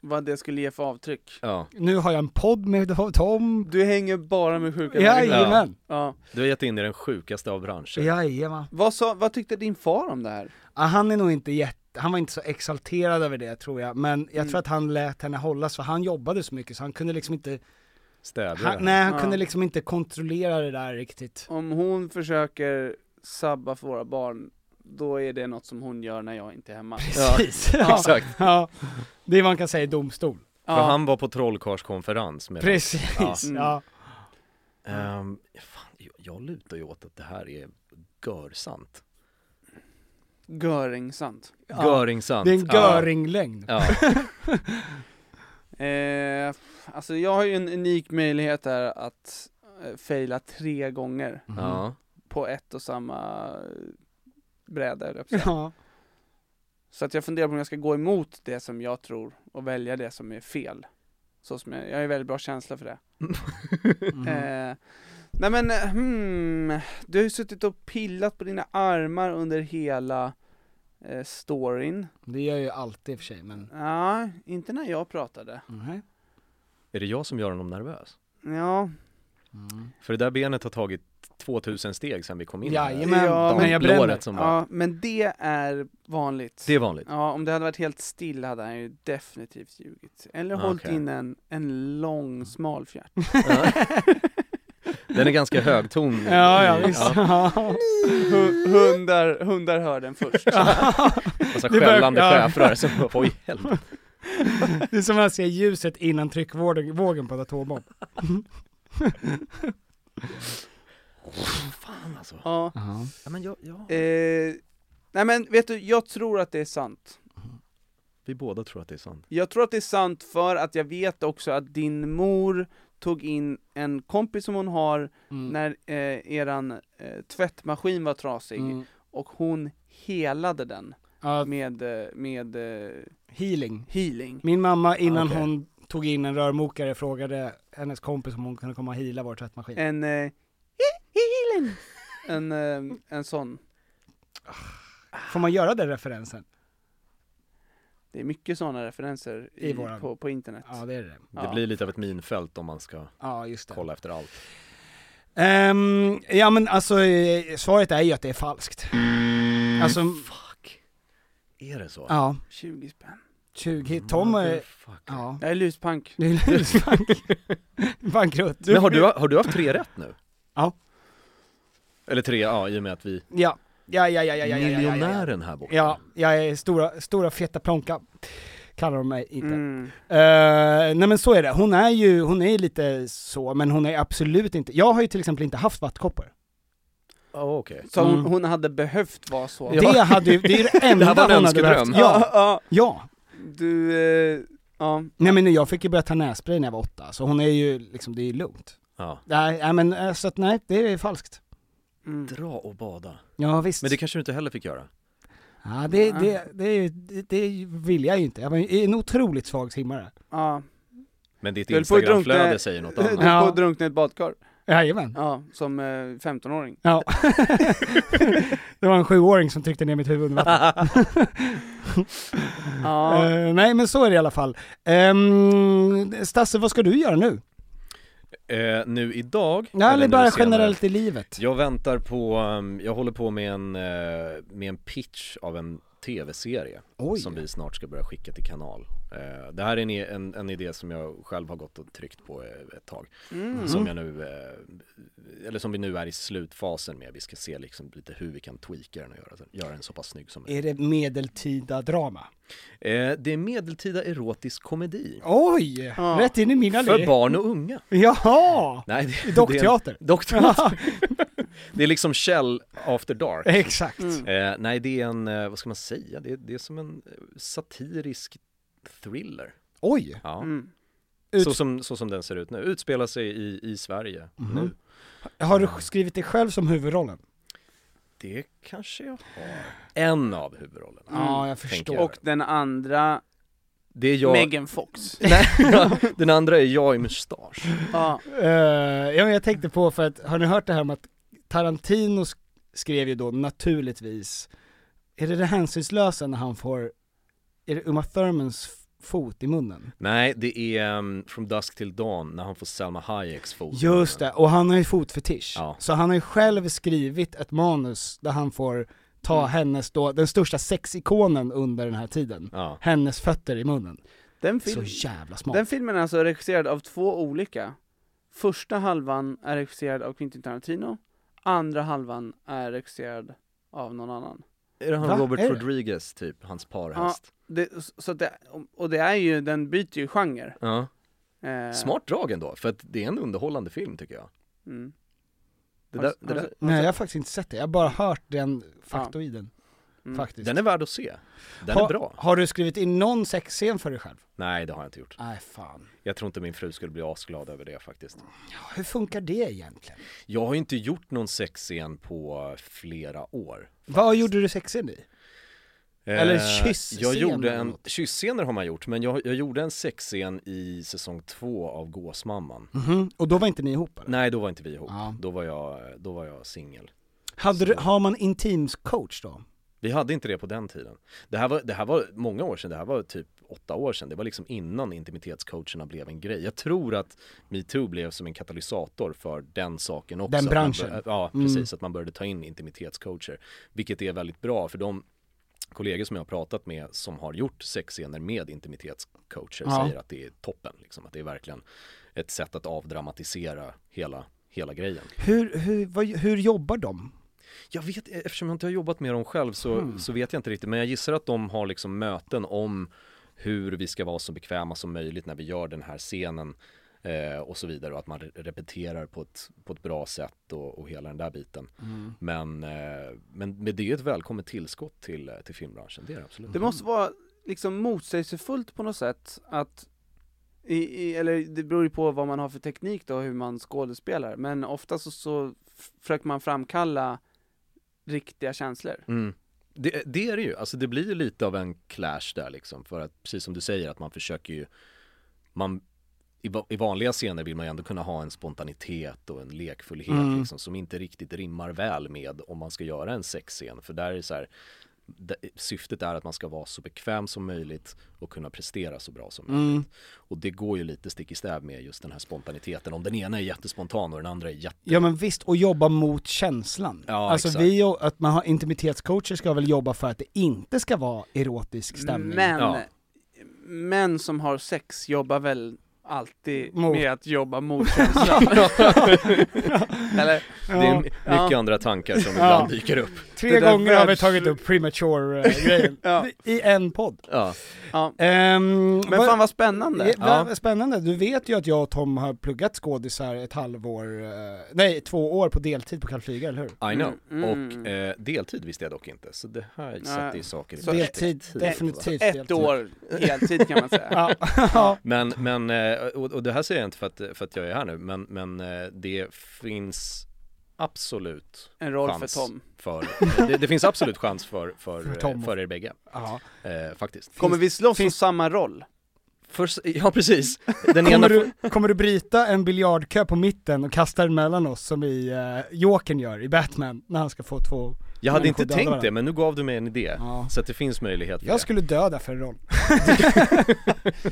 Speaker 3: vad det skulle ge för avtryck.
Speaker 4: Ja.
Speaker 5: Nu har jag en podd med Tom.
Speaker 3: Du hänger bara med sjuka människor.
Speaker 5: Jajamän!
Speaker 3: Ja.
Speaker 4: Du har gett in i den sjukaste av branscher.
Speaker 5: Jajamän.
Speaker 3: Vad, sa, vad tyckte din far om det här?
Speaker 5: Ja, han är nog inte jätte, han var inte så exalterad över det tror jag, men jag tror att han lät henne hållas för han jobbade så mycket så han kunde liksom inte,
Speaker 4: Stävja
Speaker 5: han,
Speaker 4: det här.
Speaker 5: nej han
Speaker 3: Ja.
Speaker 5: kunde liksom inte kontrollera det där riktigt.
Speaker 3: Om hon försöker sabba för våra barn, då är det något som hon gör när jag inte är hemma.
Speaker 5: Precis. Ja.
Speaker 4: Exakt.
Speaker 5: ja. Det är vad man kan säga i domstol.
Speaker 4: För
Speaker 3: Ja.
Speaker 4: han var på trollkarlskonferens med
Speaker 5: Precis, ja.
Speaker 3: Mm.
Speaker 4: Ehm, fan, jag, jag lutar ju åt att det här är görsant.
Speaker 3: Göringsant.
Speaker 5: Ja.
Speaker 4: Göringsant.
Speaker 5: Det är en
Speaker 4: Mm. Ja.
Speaker 5: göringlängd.
Speaker 4: Ja.
Speaker 3: Eh, alltså jag har ju en unik möjlighet här att eh, faila tre gånger
Speaker 4: ja.
Speaker 3: på ett och samma eh, bräda, höll jag på att säga.
Speaker 5: Ja.
Speaker 3: Så att jag funderar på om jag ska gå emot det som jag tror och välja det som är fel. Så som jag, jag har ju väldigt bra känsla för det.
Speaker 5: Mm.
Speaker 4: Mm.
Speaker 3: Eh, nej men, eh, hmm, du har ju suttit och pillat på dina armar under hela eh, storyn.
Speaker 5: Det gör jag ju alltid i och för sig men,
Speaker 3: Ja, inte när jag pratade.
Speaker 5: nej.
Speaker 4: Är det jag som gör honom nervös?
Speaker 3: Ja,
Speaker 5: Mm.
Speaker 4: För det där benet har tagit 2000 steg sedan vi kom in. här.
Speaker 5: Jajamän,
Speaker 3: Ja,
Speaker 5: men jag bränner.
Speaker 4: Blåret som var.
Speaker 3: ja men det är vanligt.
Speaker 4: Det är vanligt.
Speaker 3: Ja, om det hade varit helt still hade han ju definitivt ljugit. Eller
Speaker 4: Ah,
Speaker 3: hållit
Speaker 4: okej. Mm.
Speaker 3: in en, en lång smal fjärt.
Speaker 4: Den är ganska högton.
Speaker 5: Ja, ja visst. Ja.
Speaker 3: Hu- hundar, hundar hör den först.
Speaker 4: Och så
Speaker 5: Det börjar-
Speaker 4: alltså skällande
Speaker 5: ja.
Speaker 4: schäfrar som bara, oj helvete.
Speaker 5: Det är som att se ljuset innan tryckvågen vågen på en atombomb.
Speaker 4: Fan alltså.
Speaker 3: Ja.
Speaker 4: Ja, men jag, jag...
Speaker 3: Eh, nej men vet du, jag tror att det är sant.
Speaker 4: Vi båda tror att det är sant.
Speaker 3: Jag tror att det är sant för att jag vet också att din mor tog in en kompis som hon har
Speaker 5: Mm.
Speaker 3: när eh, eran eh, tvättmaskin var trasig
Speaker 5: Mm.
Speaker 3: och hon helade den
Speaker 5: Ja,
Speaker 3: med, eh, med eh,
Speaker 5: healing.
Speaker 3: healing.
Speaker 5: Min mamma innan
Speaker 4: Okej.
Speaker 5: hon tog in en rörmokare frågade hennes kompis om hon kunde komma och hila vår tvättmaskin.
Speaker 3: En eh, he- healing! En, eh, en sån.
Speaker 5: Får man göra den referensen?
Speaker 3: Det är mycket såna referenser i,
Speaker 5: I våran-
Speaker 3: på, på internet.
Speaker 5: Ja det är det.
Speaker 3: Ja.
Speaker 4: Det blir lite av ett minfält om man ska
Speaker 5: Ja just det.
Speaker 4: kolla efter allt.
Speaker 5: Ehm, ja men alltså eh, svaret är ju att det är falskt. Alltså,
Speaker 4: Fuck. Är det så?
Speaker 5: ja.
Speaker 3: 20 spänn.
Speaker 5: 20 Tom är,
Speaker 4: Fuck.
Speaker 5: ja.
Speaker 3: Jag är luspank.
Speaker 5: Det är lusbank. Bankrutt.
Speaker 4: Men har du, har du haft tre rätt nu?
Speaker 5: Ja.
Speaker 4: Eller tre, ja i och med att vi...
Speaker 5: Ja. Ja, ja, ja, ja, ja, ja, ja, ja,
Speaker 4: Miljonären här borta.
Speaker 5: ja. Jag är stora, stora feta plånka. Kallar de mig inte.
Speaker 3: Mm.
Speaker 5: Eh, nej men så är det, hon är ju, hon är lite så, men hon är absolut inte, jag har ju till exempel inte haft vattkoppor.
Speaker 4: Ja, okej.
Speaker 3: Så hon,
Speaker 5: Mm.
Speaker 3: hon hade behövt vara så.
Speaker 4: Ja.
Speaker 5: Det hade ju, det är det enda
Speaker 4: Det här var en
Speaker 5: hon hade
Speaker 4: önskedröm.
Speaker 5: behövt. Ja,
Speaker 3: ja.
Speaker 5: ja.
Speaker 3: Du, eh, ja.
Speaker 5: Nej men jag fick ju börja ta nässpray när jag var åtta, så hon är ju liksom, det är ju lugnt.
Speaker 4: Ja.
Speaker 5: Nej, nej men eh, så att nej, det är falskt.
Speaker 3: Mm.
Speaker 4: Dra och bada.
Speaker 5: Ja visst.
Speaker 4: Men det kanske du inte heller fick göra?
Speaker 5: ja, det, det, det, är ju- det, det vill jag ju inte. Jag var ju en otroligt svag simmare.
Speaker 3: Ja.
Speaker 4: Men ditt
Speaker 3: Du höll på att drunkna-
Speaker 4: Instagramflöde säger något
Speaker 3: Du höll
Speaker 4: annat.
Speaker 3: på
Speaker 5: Ja.
Speaker 3: att drunkna i ett badkar.
Speaker 5: Jajamän.
Speaker 3: Ja, som eh, 15-åring.
Speaker 5: Ja. det var en sjuåring som tryckte ner mitt huvud under vattnet.
Speaker 3: Ja.
Speaker 5: Eh, nej men så är det i alla fall. Um, Stasse, vad ska du göra nu?
Speaker 4: Eh, nu idag?
Speaker 5: Nej, eller
Speaker 4: nu
Speaker 5: bara
Speaker 4: senare.
Speaker 5: generellt i livet.
Speaker 4: um, Jag väntar på, ehm, jag håller på med en, eh, med en pitch av en tv-serie
Speaker 5: Oj.
Speaker 4: som vi snart ska börja skicka till kanal. Eh, det här är en, en, en idé som jag själv har gått och tryckt på eh, ett tag.
Speaker 5: Mm.
Speaker 4: Som jag nu, eh, eller som vi nu är i slutfasen med. Vi ska se liksom lite hur vi kan tweaka den och göra, den- göra den så pass snygg som möjligt.
Speaker 5: Är det medeltida drama?
Speaker 4: Eh, det är medeltida erotisk komedi.
Speaker 5: Oj! Rätt in i mina
Speaker 4: För
Speaker 5: liv.
Speaker 4: barn och unga.
Speaker 5: Jaha!
Speaker 4: Nej, det- det, är-
Speaker 5: Dockteater.
Speaker 4: Dockteater. det är liksom Shell After Dark.
Speaker 5: Exakt.
Speaker 3: Mm.
Speaker 4: Eh, nej, det är en, eh, vad ska man säga, det är, det är som en eh, satirisk thriller.
Speaker 5: Oj!
Speaker 4: Ja.
Speaker 3: Mm.
Speaker 4: Så, som, så som den ser ut nu, utspelar sig i, i Sverige
Speaker 5: Mhm.
Speaker 4: nu.
Speaker 5: Har du skrivit dig själv som huvudrollen?
Speaker 4: Det kanske jag har. En av huvudrollerna.
Speaker 5: Ja, jag
Speaker 4: tänker
Speaker 5: förstår.
Speaker 4: jag.
Speaker 3: Och den andra,
Speaker 4: Det är jag,
Speaker 3: Megan Fox.
Speaker 4: den andra är jag i mustasch.
Speaker 3: ja.
Speaker 5: Eh, ja, men jag tänkte på för att, har ni hört det här med att Tarantino sk- skrev ju då naturligtvis, är det det hänsynslösa när han får, är det Uma Thurmans f- fot i munnen?
Speaker 4: Nej, det är um, From Dusk Till Dawn när han får Selma Hayeks fot.
Speaker 5: Just det, och han har ju fotfetisch.
Speaker 4: Ja.
Speaker 5: Så han har ju själv skrivit ett manus där han får ta
Speaker 4: Mm.
Speaker 5: hennes då, den största sexikonen under den här tiden,
Speaker 4: Ja.
Speaker 5: hennes fötter i munnen.
Speaker 3: Den,
Speaker 5: Så
Speaker 3: film,
Speaker 5: jävla smart.
Speaker 3: den filmen är alltså regisserad av två olika. Första halvan är regisserad av Quentin Tarantino, andra halvan är regissererad av någon annan.
Speaker 4: Är det han
Speaker 5: Va?
Speaker 4: Robert
Speaker 5: Är det?
Speaker 4: Rodriguez typ, hans parhäst?
Speaker 3: Det, så att det, och det är ju, den byter ju genre.
Speaker 4: Ja.
Speaker 3: Eh,
Speaker 4: Smart drag ändå, för att det är en underhållande film tycker jag.
Speaker 3: Mm.
Speaker 4: Det
Speaker 3: Har du-
Speaker 4: där, det
Speaker 3: har du
Speaker 4: där,
Speaker 3: sett-
Speaker 5: Nej jag har faktiskt inte sett det, jag har bara hört den faktoiden. Faktiskt.
Speaker 4: den är värd att se. Den
Speaker 5: ha,
Speaker 4: är bra.
Speaker 5: Har du skrivit in någon sexscen för dig själv?
Speaker 4: Nej, det har jag inte gjort.
Speaker 5: Nej fan.
Speaker 4: Jag tror inte min fru skulle bli asglad över det faktiskt.
Speaker 5: Hur funkar det egentligen?
Speaker 4: Jag har ju inte gjort någon sexscen på flera år. Eh,
Speaker 5: Vad gjorde du sexscen i? Eller kyssscener
Speaker 4: Jag gjorde
Speaker 5: eller
Speaker 4: en,
Speaker 5: något.
Speaker 4: kyssscener har man gjort, men jag, jag gjorde en sexscen i säsong två av Gåsmamman.
Speaker 5: Mhm. Och då var inte ni ihop eller?
Speaker 4: Nej, då var inte vi ihop.
Speaker 5: Ja.
Speaker 4: Då var jag, då var jag singel.
Speaker 5: Hade du, har man intimscoach då?
Speaker 4: Vi hade inte det på den tiden. Det här, var, det här var många år sedan, det här var typ åtta år sedan. Det var liksom innan intimitetscoacherna blev en grej. Jag tror att metoo blev som en katalysator för den saken också.
Speaker 5: Den
Speaker 4: Att man
Speaker 5: branschen. Mm.
Speaker 4: bör- ja, precis. Att man började ta in intimitetscoacher. Vilket är väldigt bra för de kollegor som jag har pratat med som har gjort sexscener med intimitetscoacher
Speaker 5: Ja.
Speaker 4: säger att det är toppen. Liksom, att det är verkligen ett sätt att avdramatisera hela, hela grejen.
Speaker 5: Hur, hur, vad, hur jobbar de?
Speaker 4: Jag vet, e, eftersom jag inte har jobbat med dem själv så, så vet jag inte riktigt, men jag gissar att de har liksom möten om hur vi ska vara så bekväma som möjligt när vi gör den här scenen eh, och så vidare och att man re- repeterar på ett, på ett bra sätt och, och hela den där biten. Men, eh, men, men det är ett välkommet tillskott till, eh, till filmbranschen, det är det absolut.
Speaker 3: Det måste vara liksom motsägelsefullt på något sätt att i, i, eller det beror ju på vad man har för teknik då, hur man skådespelar, men ofta så, så f- försöker man framkalla riktiga känslor.
Speaker 4: Mm. Det, det är det ju, alltså det blir ju lite av en clash där liksom för att precis som du säger att man försöker ju, man, i, va- i vanliga scener vill man ju ändå kunna ha en spontanitet och en lekfullhet liksom som inte riktigt rimmar väl med om man ska göra en sexscen för där är det så här, d- syftet är att man ska vara så bekväm som möjligt och kunna prestera så bra som möjligt. Och det går ju lite stick i stäv med just den här spontaniteten om den ena är jättespontan och den andra är jätte
Speaker 5: Ja men visst, och jobba mot känslan.
Speaker 4: Ja,
Speaker 5: alltså
Speaker 4: exakt.
Speaker 5: vi, och- att man har intimitetscoacher ska väl jobba för att det inte ska vara erotisk stämning?
Speaker 3: Men,
Speaker 4: Ja.
Speaker 3: män som har sex jobbar väl alltid
Speaker 5: Mot.
Speaker 3: med att jobba mot känslan? eller?
Speaker 4: Det är mycket andra tankar som ibland dyker upp.
Speaker 5: Tre
Speaker 3: Det där
Speaker 5: gånger har vi
Speaker 3: världs-
Speaker 5: tagit upp premature-grejen
Speaker 3: Ja.
Speaker 5: i en podd.
Speaker 4: Ja.
Speaker 3: Ja.
Speaker 5: Ehm,
Speaker 3: Men fan vad spännande!
Speaker 5: Ja, vad Spännande, du vet ju att jag och Tom har pluggat skådisar ett halvår, eh, nej två år på deltid på Carl Flyga, eller hur?
Speaker 4: I know.
Speaker 3: Mm,
Speaker 4: Och eh, deltid visste jag dock inte. Så det här satte ju saker i
Speaker 3: Så
Speaker 5: Deltid,
Speaker 4: perspektiv.
Speaker 5: definitivt
Speaker 3: Ett
Speaker 5: deltid.
Speaker 3: år heltid kan man säga.
Speaker 5: Ja, ja.
Speaker 4: Men, men eh, och, och det här säger jag inte för att, för att jag är här nu, men, men eh, det finns absolut
Speaker 3: En roll
Speaker 4: chans
Speaker 3: för Tom.
Speaker 4: för- det, det finns absolut chans för, för,
Speaker 5: För
Speaker 4: för,
Speaker 5: Tom.
Speaker 4: för er bägge,
Speaker 5: ja.
Speaker 4: eh, faktiskt.
Speaker 3: Kommer vi slåss om samma roll?
Speaker 4: För, ja, precis. Den
Speaker 5: Kommer,
Speaker 4: ena...
Speaker 5: du, kommer du bryta en biljardkö på mitten och kasta den mellan oss som i uh, Jokern gör i Batman när han ska få två
Speaker 4: Jag hade
Speaker 5: människor
Speaker 4: inte
Speaker 5: döda
Speaker 4: tänkt
Speaker 5: varandra?
Speaker 4: det, men nu gav du mig en idé.
Speaker 5: Ja.
Speaker 4: Så att det finns möjlighet för
Speaker 5: Jag
Speaker 4: det.
Speaker 5: skulle döda för en roll.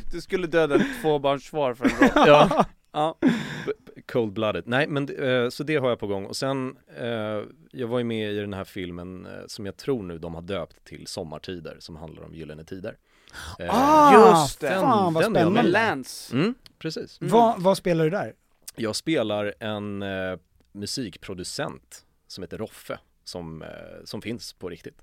Speaker 3: Du skulle döda ett tvåbarnsfar för en roll.
Speaker 4: Ja.
Speaker 3: Ja.
Speaker 4: B- b- Cold-blooded. Nej, men eh, så det har jag på gång. Och sen, eh, jag var ju med i den här filmen eh, som jag tror nu de har döpt till Sommartider, som handlar om Gyllene Tider. Eh,
Speaker 3: Just det!
Speaker 5: Ah, fan, vad
Speaker 4: är jag med
Speaker 3: Med
Speaker 4: i.
Speaker 3: Lance.
Speaker 4: Mm, precis.
Speaker 5: Vad, vad spelar du där?
Speaker 4: Jag spelar en eh, musikproducent som heter Roffe som, eh, som finns på riktigt.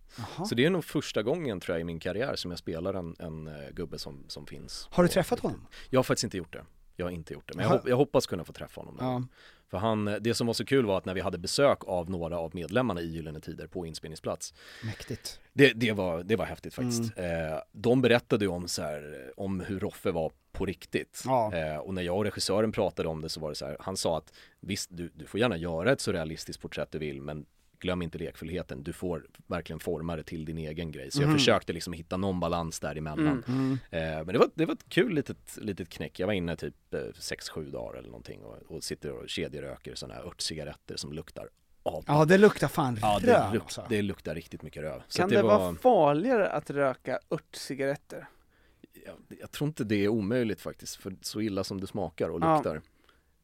Speaker 4: Så det är nog första gången tror jag i min karriär som jag spelar en, en eh, gubbe som, som finns.
Speaker 5: Har du
Speaker 4: på
Speaker 5: träffat
Speaker 4: riktigt.
Speaker 5: honom?
Speaker 4: Jag har faktiskt inte gjort det. Jag har inte gjort det, men jag,
Speaker 5: Jaha.
Speaker 4: hop- jag hoppas kunna få träffa honom. någon
Speaker 5: Ja.
Speaker 4: gång. För han, eh, det som var så kul var att när vi hade besök av några av medlemmarna i Gyllene Tider på inspelningsplats
Speaker 5: Mäktigt.
Speaker 4: det, det, var, det var häftigt faktiskt. Eh, de berättade ju om, så här, om hur Roffe var på riktigt.
Speaker 5: Ja.
Speaker 4: Eh, och när jag och regissören pratade om det så var det så här, han sa att visst, du, du får gärna göra ett så realistiskt porträtt du vill, men glöm inte lekfullheten. Du får verkligen forma det till din egen grej. Så jag försökte liksom hitta någon balans däremellan. Eh, men det var, det var ett kul litet, litet knäck. Jag var inne typ 6-7 dagar eller någonting och, och sitter och kedjeröker sådana här örtcigaretter som luktar av
Speaker 5: Ja, det luktar fan
Speaker 4: Ja,
Speaker 5: röv
Speaker 4: det, luk,
Speaker 5: alltså.
Speaker 4: det luktar riktigt mycket röv. Så
Speaker 3: Kan
Speaker 4: att
Speaker 3: det, vara farligare att röka örtcigaretter?
Speaker 4: jag, jag tror inte det är omöjligt faktiskt, för så illa som det smakar och
Speaker 3: Ja.
Speaker 4: luktar.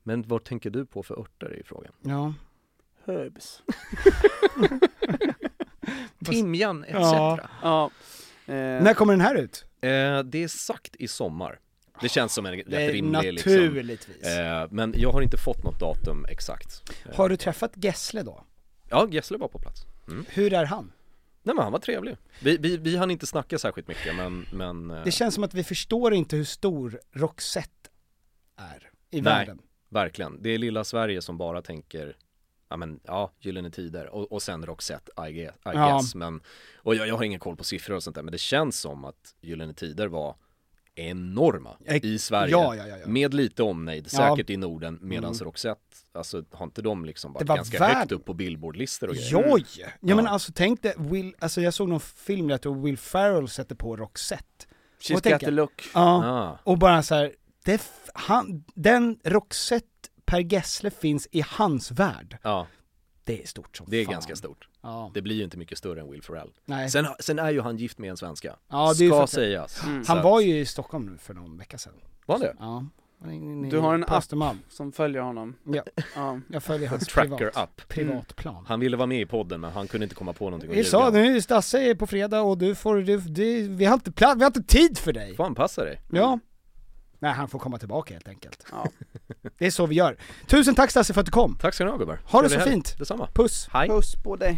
Speaker 4: Men vad tänker du på för örter är ju frågan.
Speaker 5: Ja.
Speaker 3: Herbs.
Speaker 4: Timjan etc.
Speaker 5: Ja.
Speaker 3: Ja. Eh,
Speaker 5: När kommer den här ut?
Speaker 4: Eh, det är sagt i sommar. Det känns som en rätt rimlig liksom.
Speaker 5: Naturligtvis.
Speaker 4: Eh, men jag har inte fått något datum exakt. Eh,
Speaker 5: Har du träffat Gessle då?
Speaker 4: Ja, Gessle var på plats.
Speaker 5: Hur är han?
Speaker 4: Nej men han var trevlig. Vi, vi, vi hann inte snacka särskilt mycket men, men eh,
Speaker 5: Det känns som att vi förstår inte hur stor Roxette är i
Speaker 4: Nej.
Speaker 5: världen.
Speaker 4: verkligen. Det är lilla Sverige som bara tänker Ja men ja, Gyllene Tider och, och sen Roxette I guess, I
Speaker 5: Ja.
Speaker 4: guess. men och jag, jag har ingen koll på siffror och sånt där men det känns som att Gyllene Tider var enorma
Speaker 5: Ex-
Speaker 4: i Sverige
Speaker 5: ja, ja, ja, ja.
Speaker 4: med lite omnejd
Speaker 5: Ja. Mm.
Speaker 4: säkert i Norden medan Roxette, alltså har inte de liksom
Speaker 5: Det
Speaker 4: varit
Speaker 5: var
Speaker 4: ganska
Speaker 5: värld-
Speaker 4: högt upp på billboardlistor och grejer?
Speaker 5: Joj! Ja, men alltså tänk dig, Will, alltså jag såg någon film där jag tror Will Ferrell sätter på Roxette.
Speaker 3: She's
Speaker 5: Och
Speaker 3: got
Speaker 5: tänker-
Speaker 3: the look.
Speaker 5: Ja,
Speaker 4: Ah.
Speaker 5: och bara så här, det, f- han, den Roxette Per Gessle finns i hans värld.
Speaker 4: Ja,
Speaker 5: Det är stort som
Speaker 4: det är
Speaker 5: fan.
Speaker 4: ganska stort.
Speaker 5: Ja.
Speaker 4: Det blir ju inte mycket större än Will Ferrell.
Speaker 5: Nej.
Speaker 4: Sen, sen är ju han gift med en svenska.
Speaker 5: Ja, det är ju
Speaker 4: Ska
Speaker 5: faktiskt-
Speaker 4: sägas. Så
Speaker 5: Han
Speaker 4: att-
Speaker 5: var ju i Stockholm nu för någon vecka sedan.
Speaker 4: Var han det?
Speaker 5: Ja. Han är inne i
Speaker 3: Du har en
Speaker 5: på
Speaker 3: app.
Speaker 5: Östermalm.
Speaker 3: Som följer honom.
Speaker 5: Ja,
Speaker 3: Ja.
Speaker 5: jag följer hans
Speaker 4: Tracker
Speaker 5: privat,
Speaker 4: app.
Speaker 5: privatplan.
Speaker 4: Han ville vara med i podden men han kunde inte komma på någonting att
Speaker 5: Vi sa
Speaker 4: ljuga.
Speaker 5: nu, Stasse är på fredag och du får, du, du, vi, har inte pla- vi har inte tid för dig!
Speaker 4: Får anpassa dig.
Speaker 5: Ja. Nej, han får komma tillbaka helt enkelt.
Speaker 3: Ja.
Speaker 5: Det är så vi gör. Tusen tack Stasse för att du kom!
Speaker 4: Tack ska ni ha gubbar.
Speaker 5: Ha det
Speaker 4: Trevlig
Speaker 5: så
Speaker 4: helg.
Speaker 5: fint.
Speaker 4: Detsamma.
Speaker 5: Puss!
Speaker 4: Hej.
Speaker 3: Puss på dig.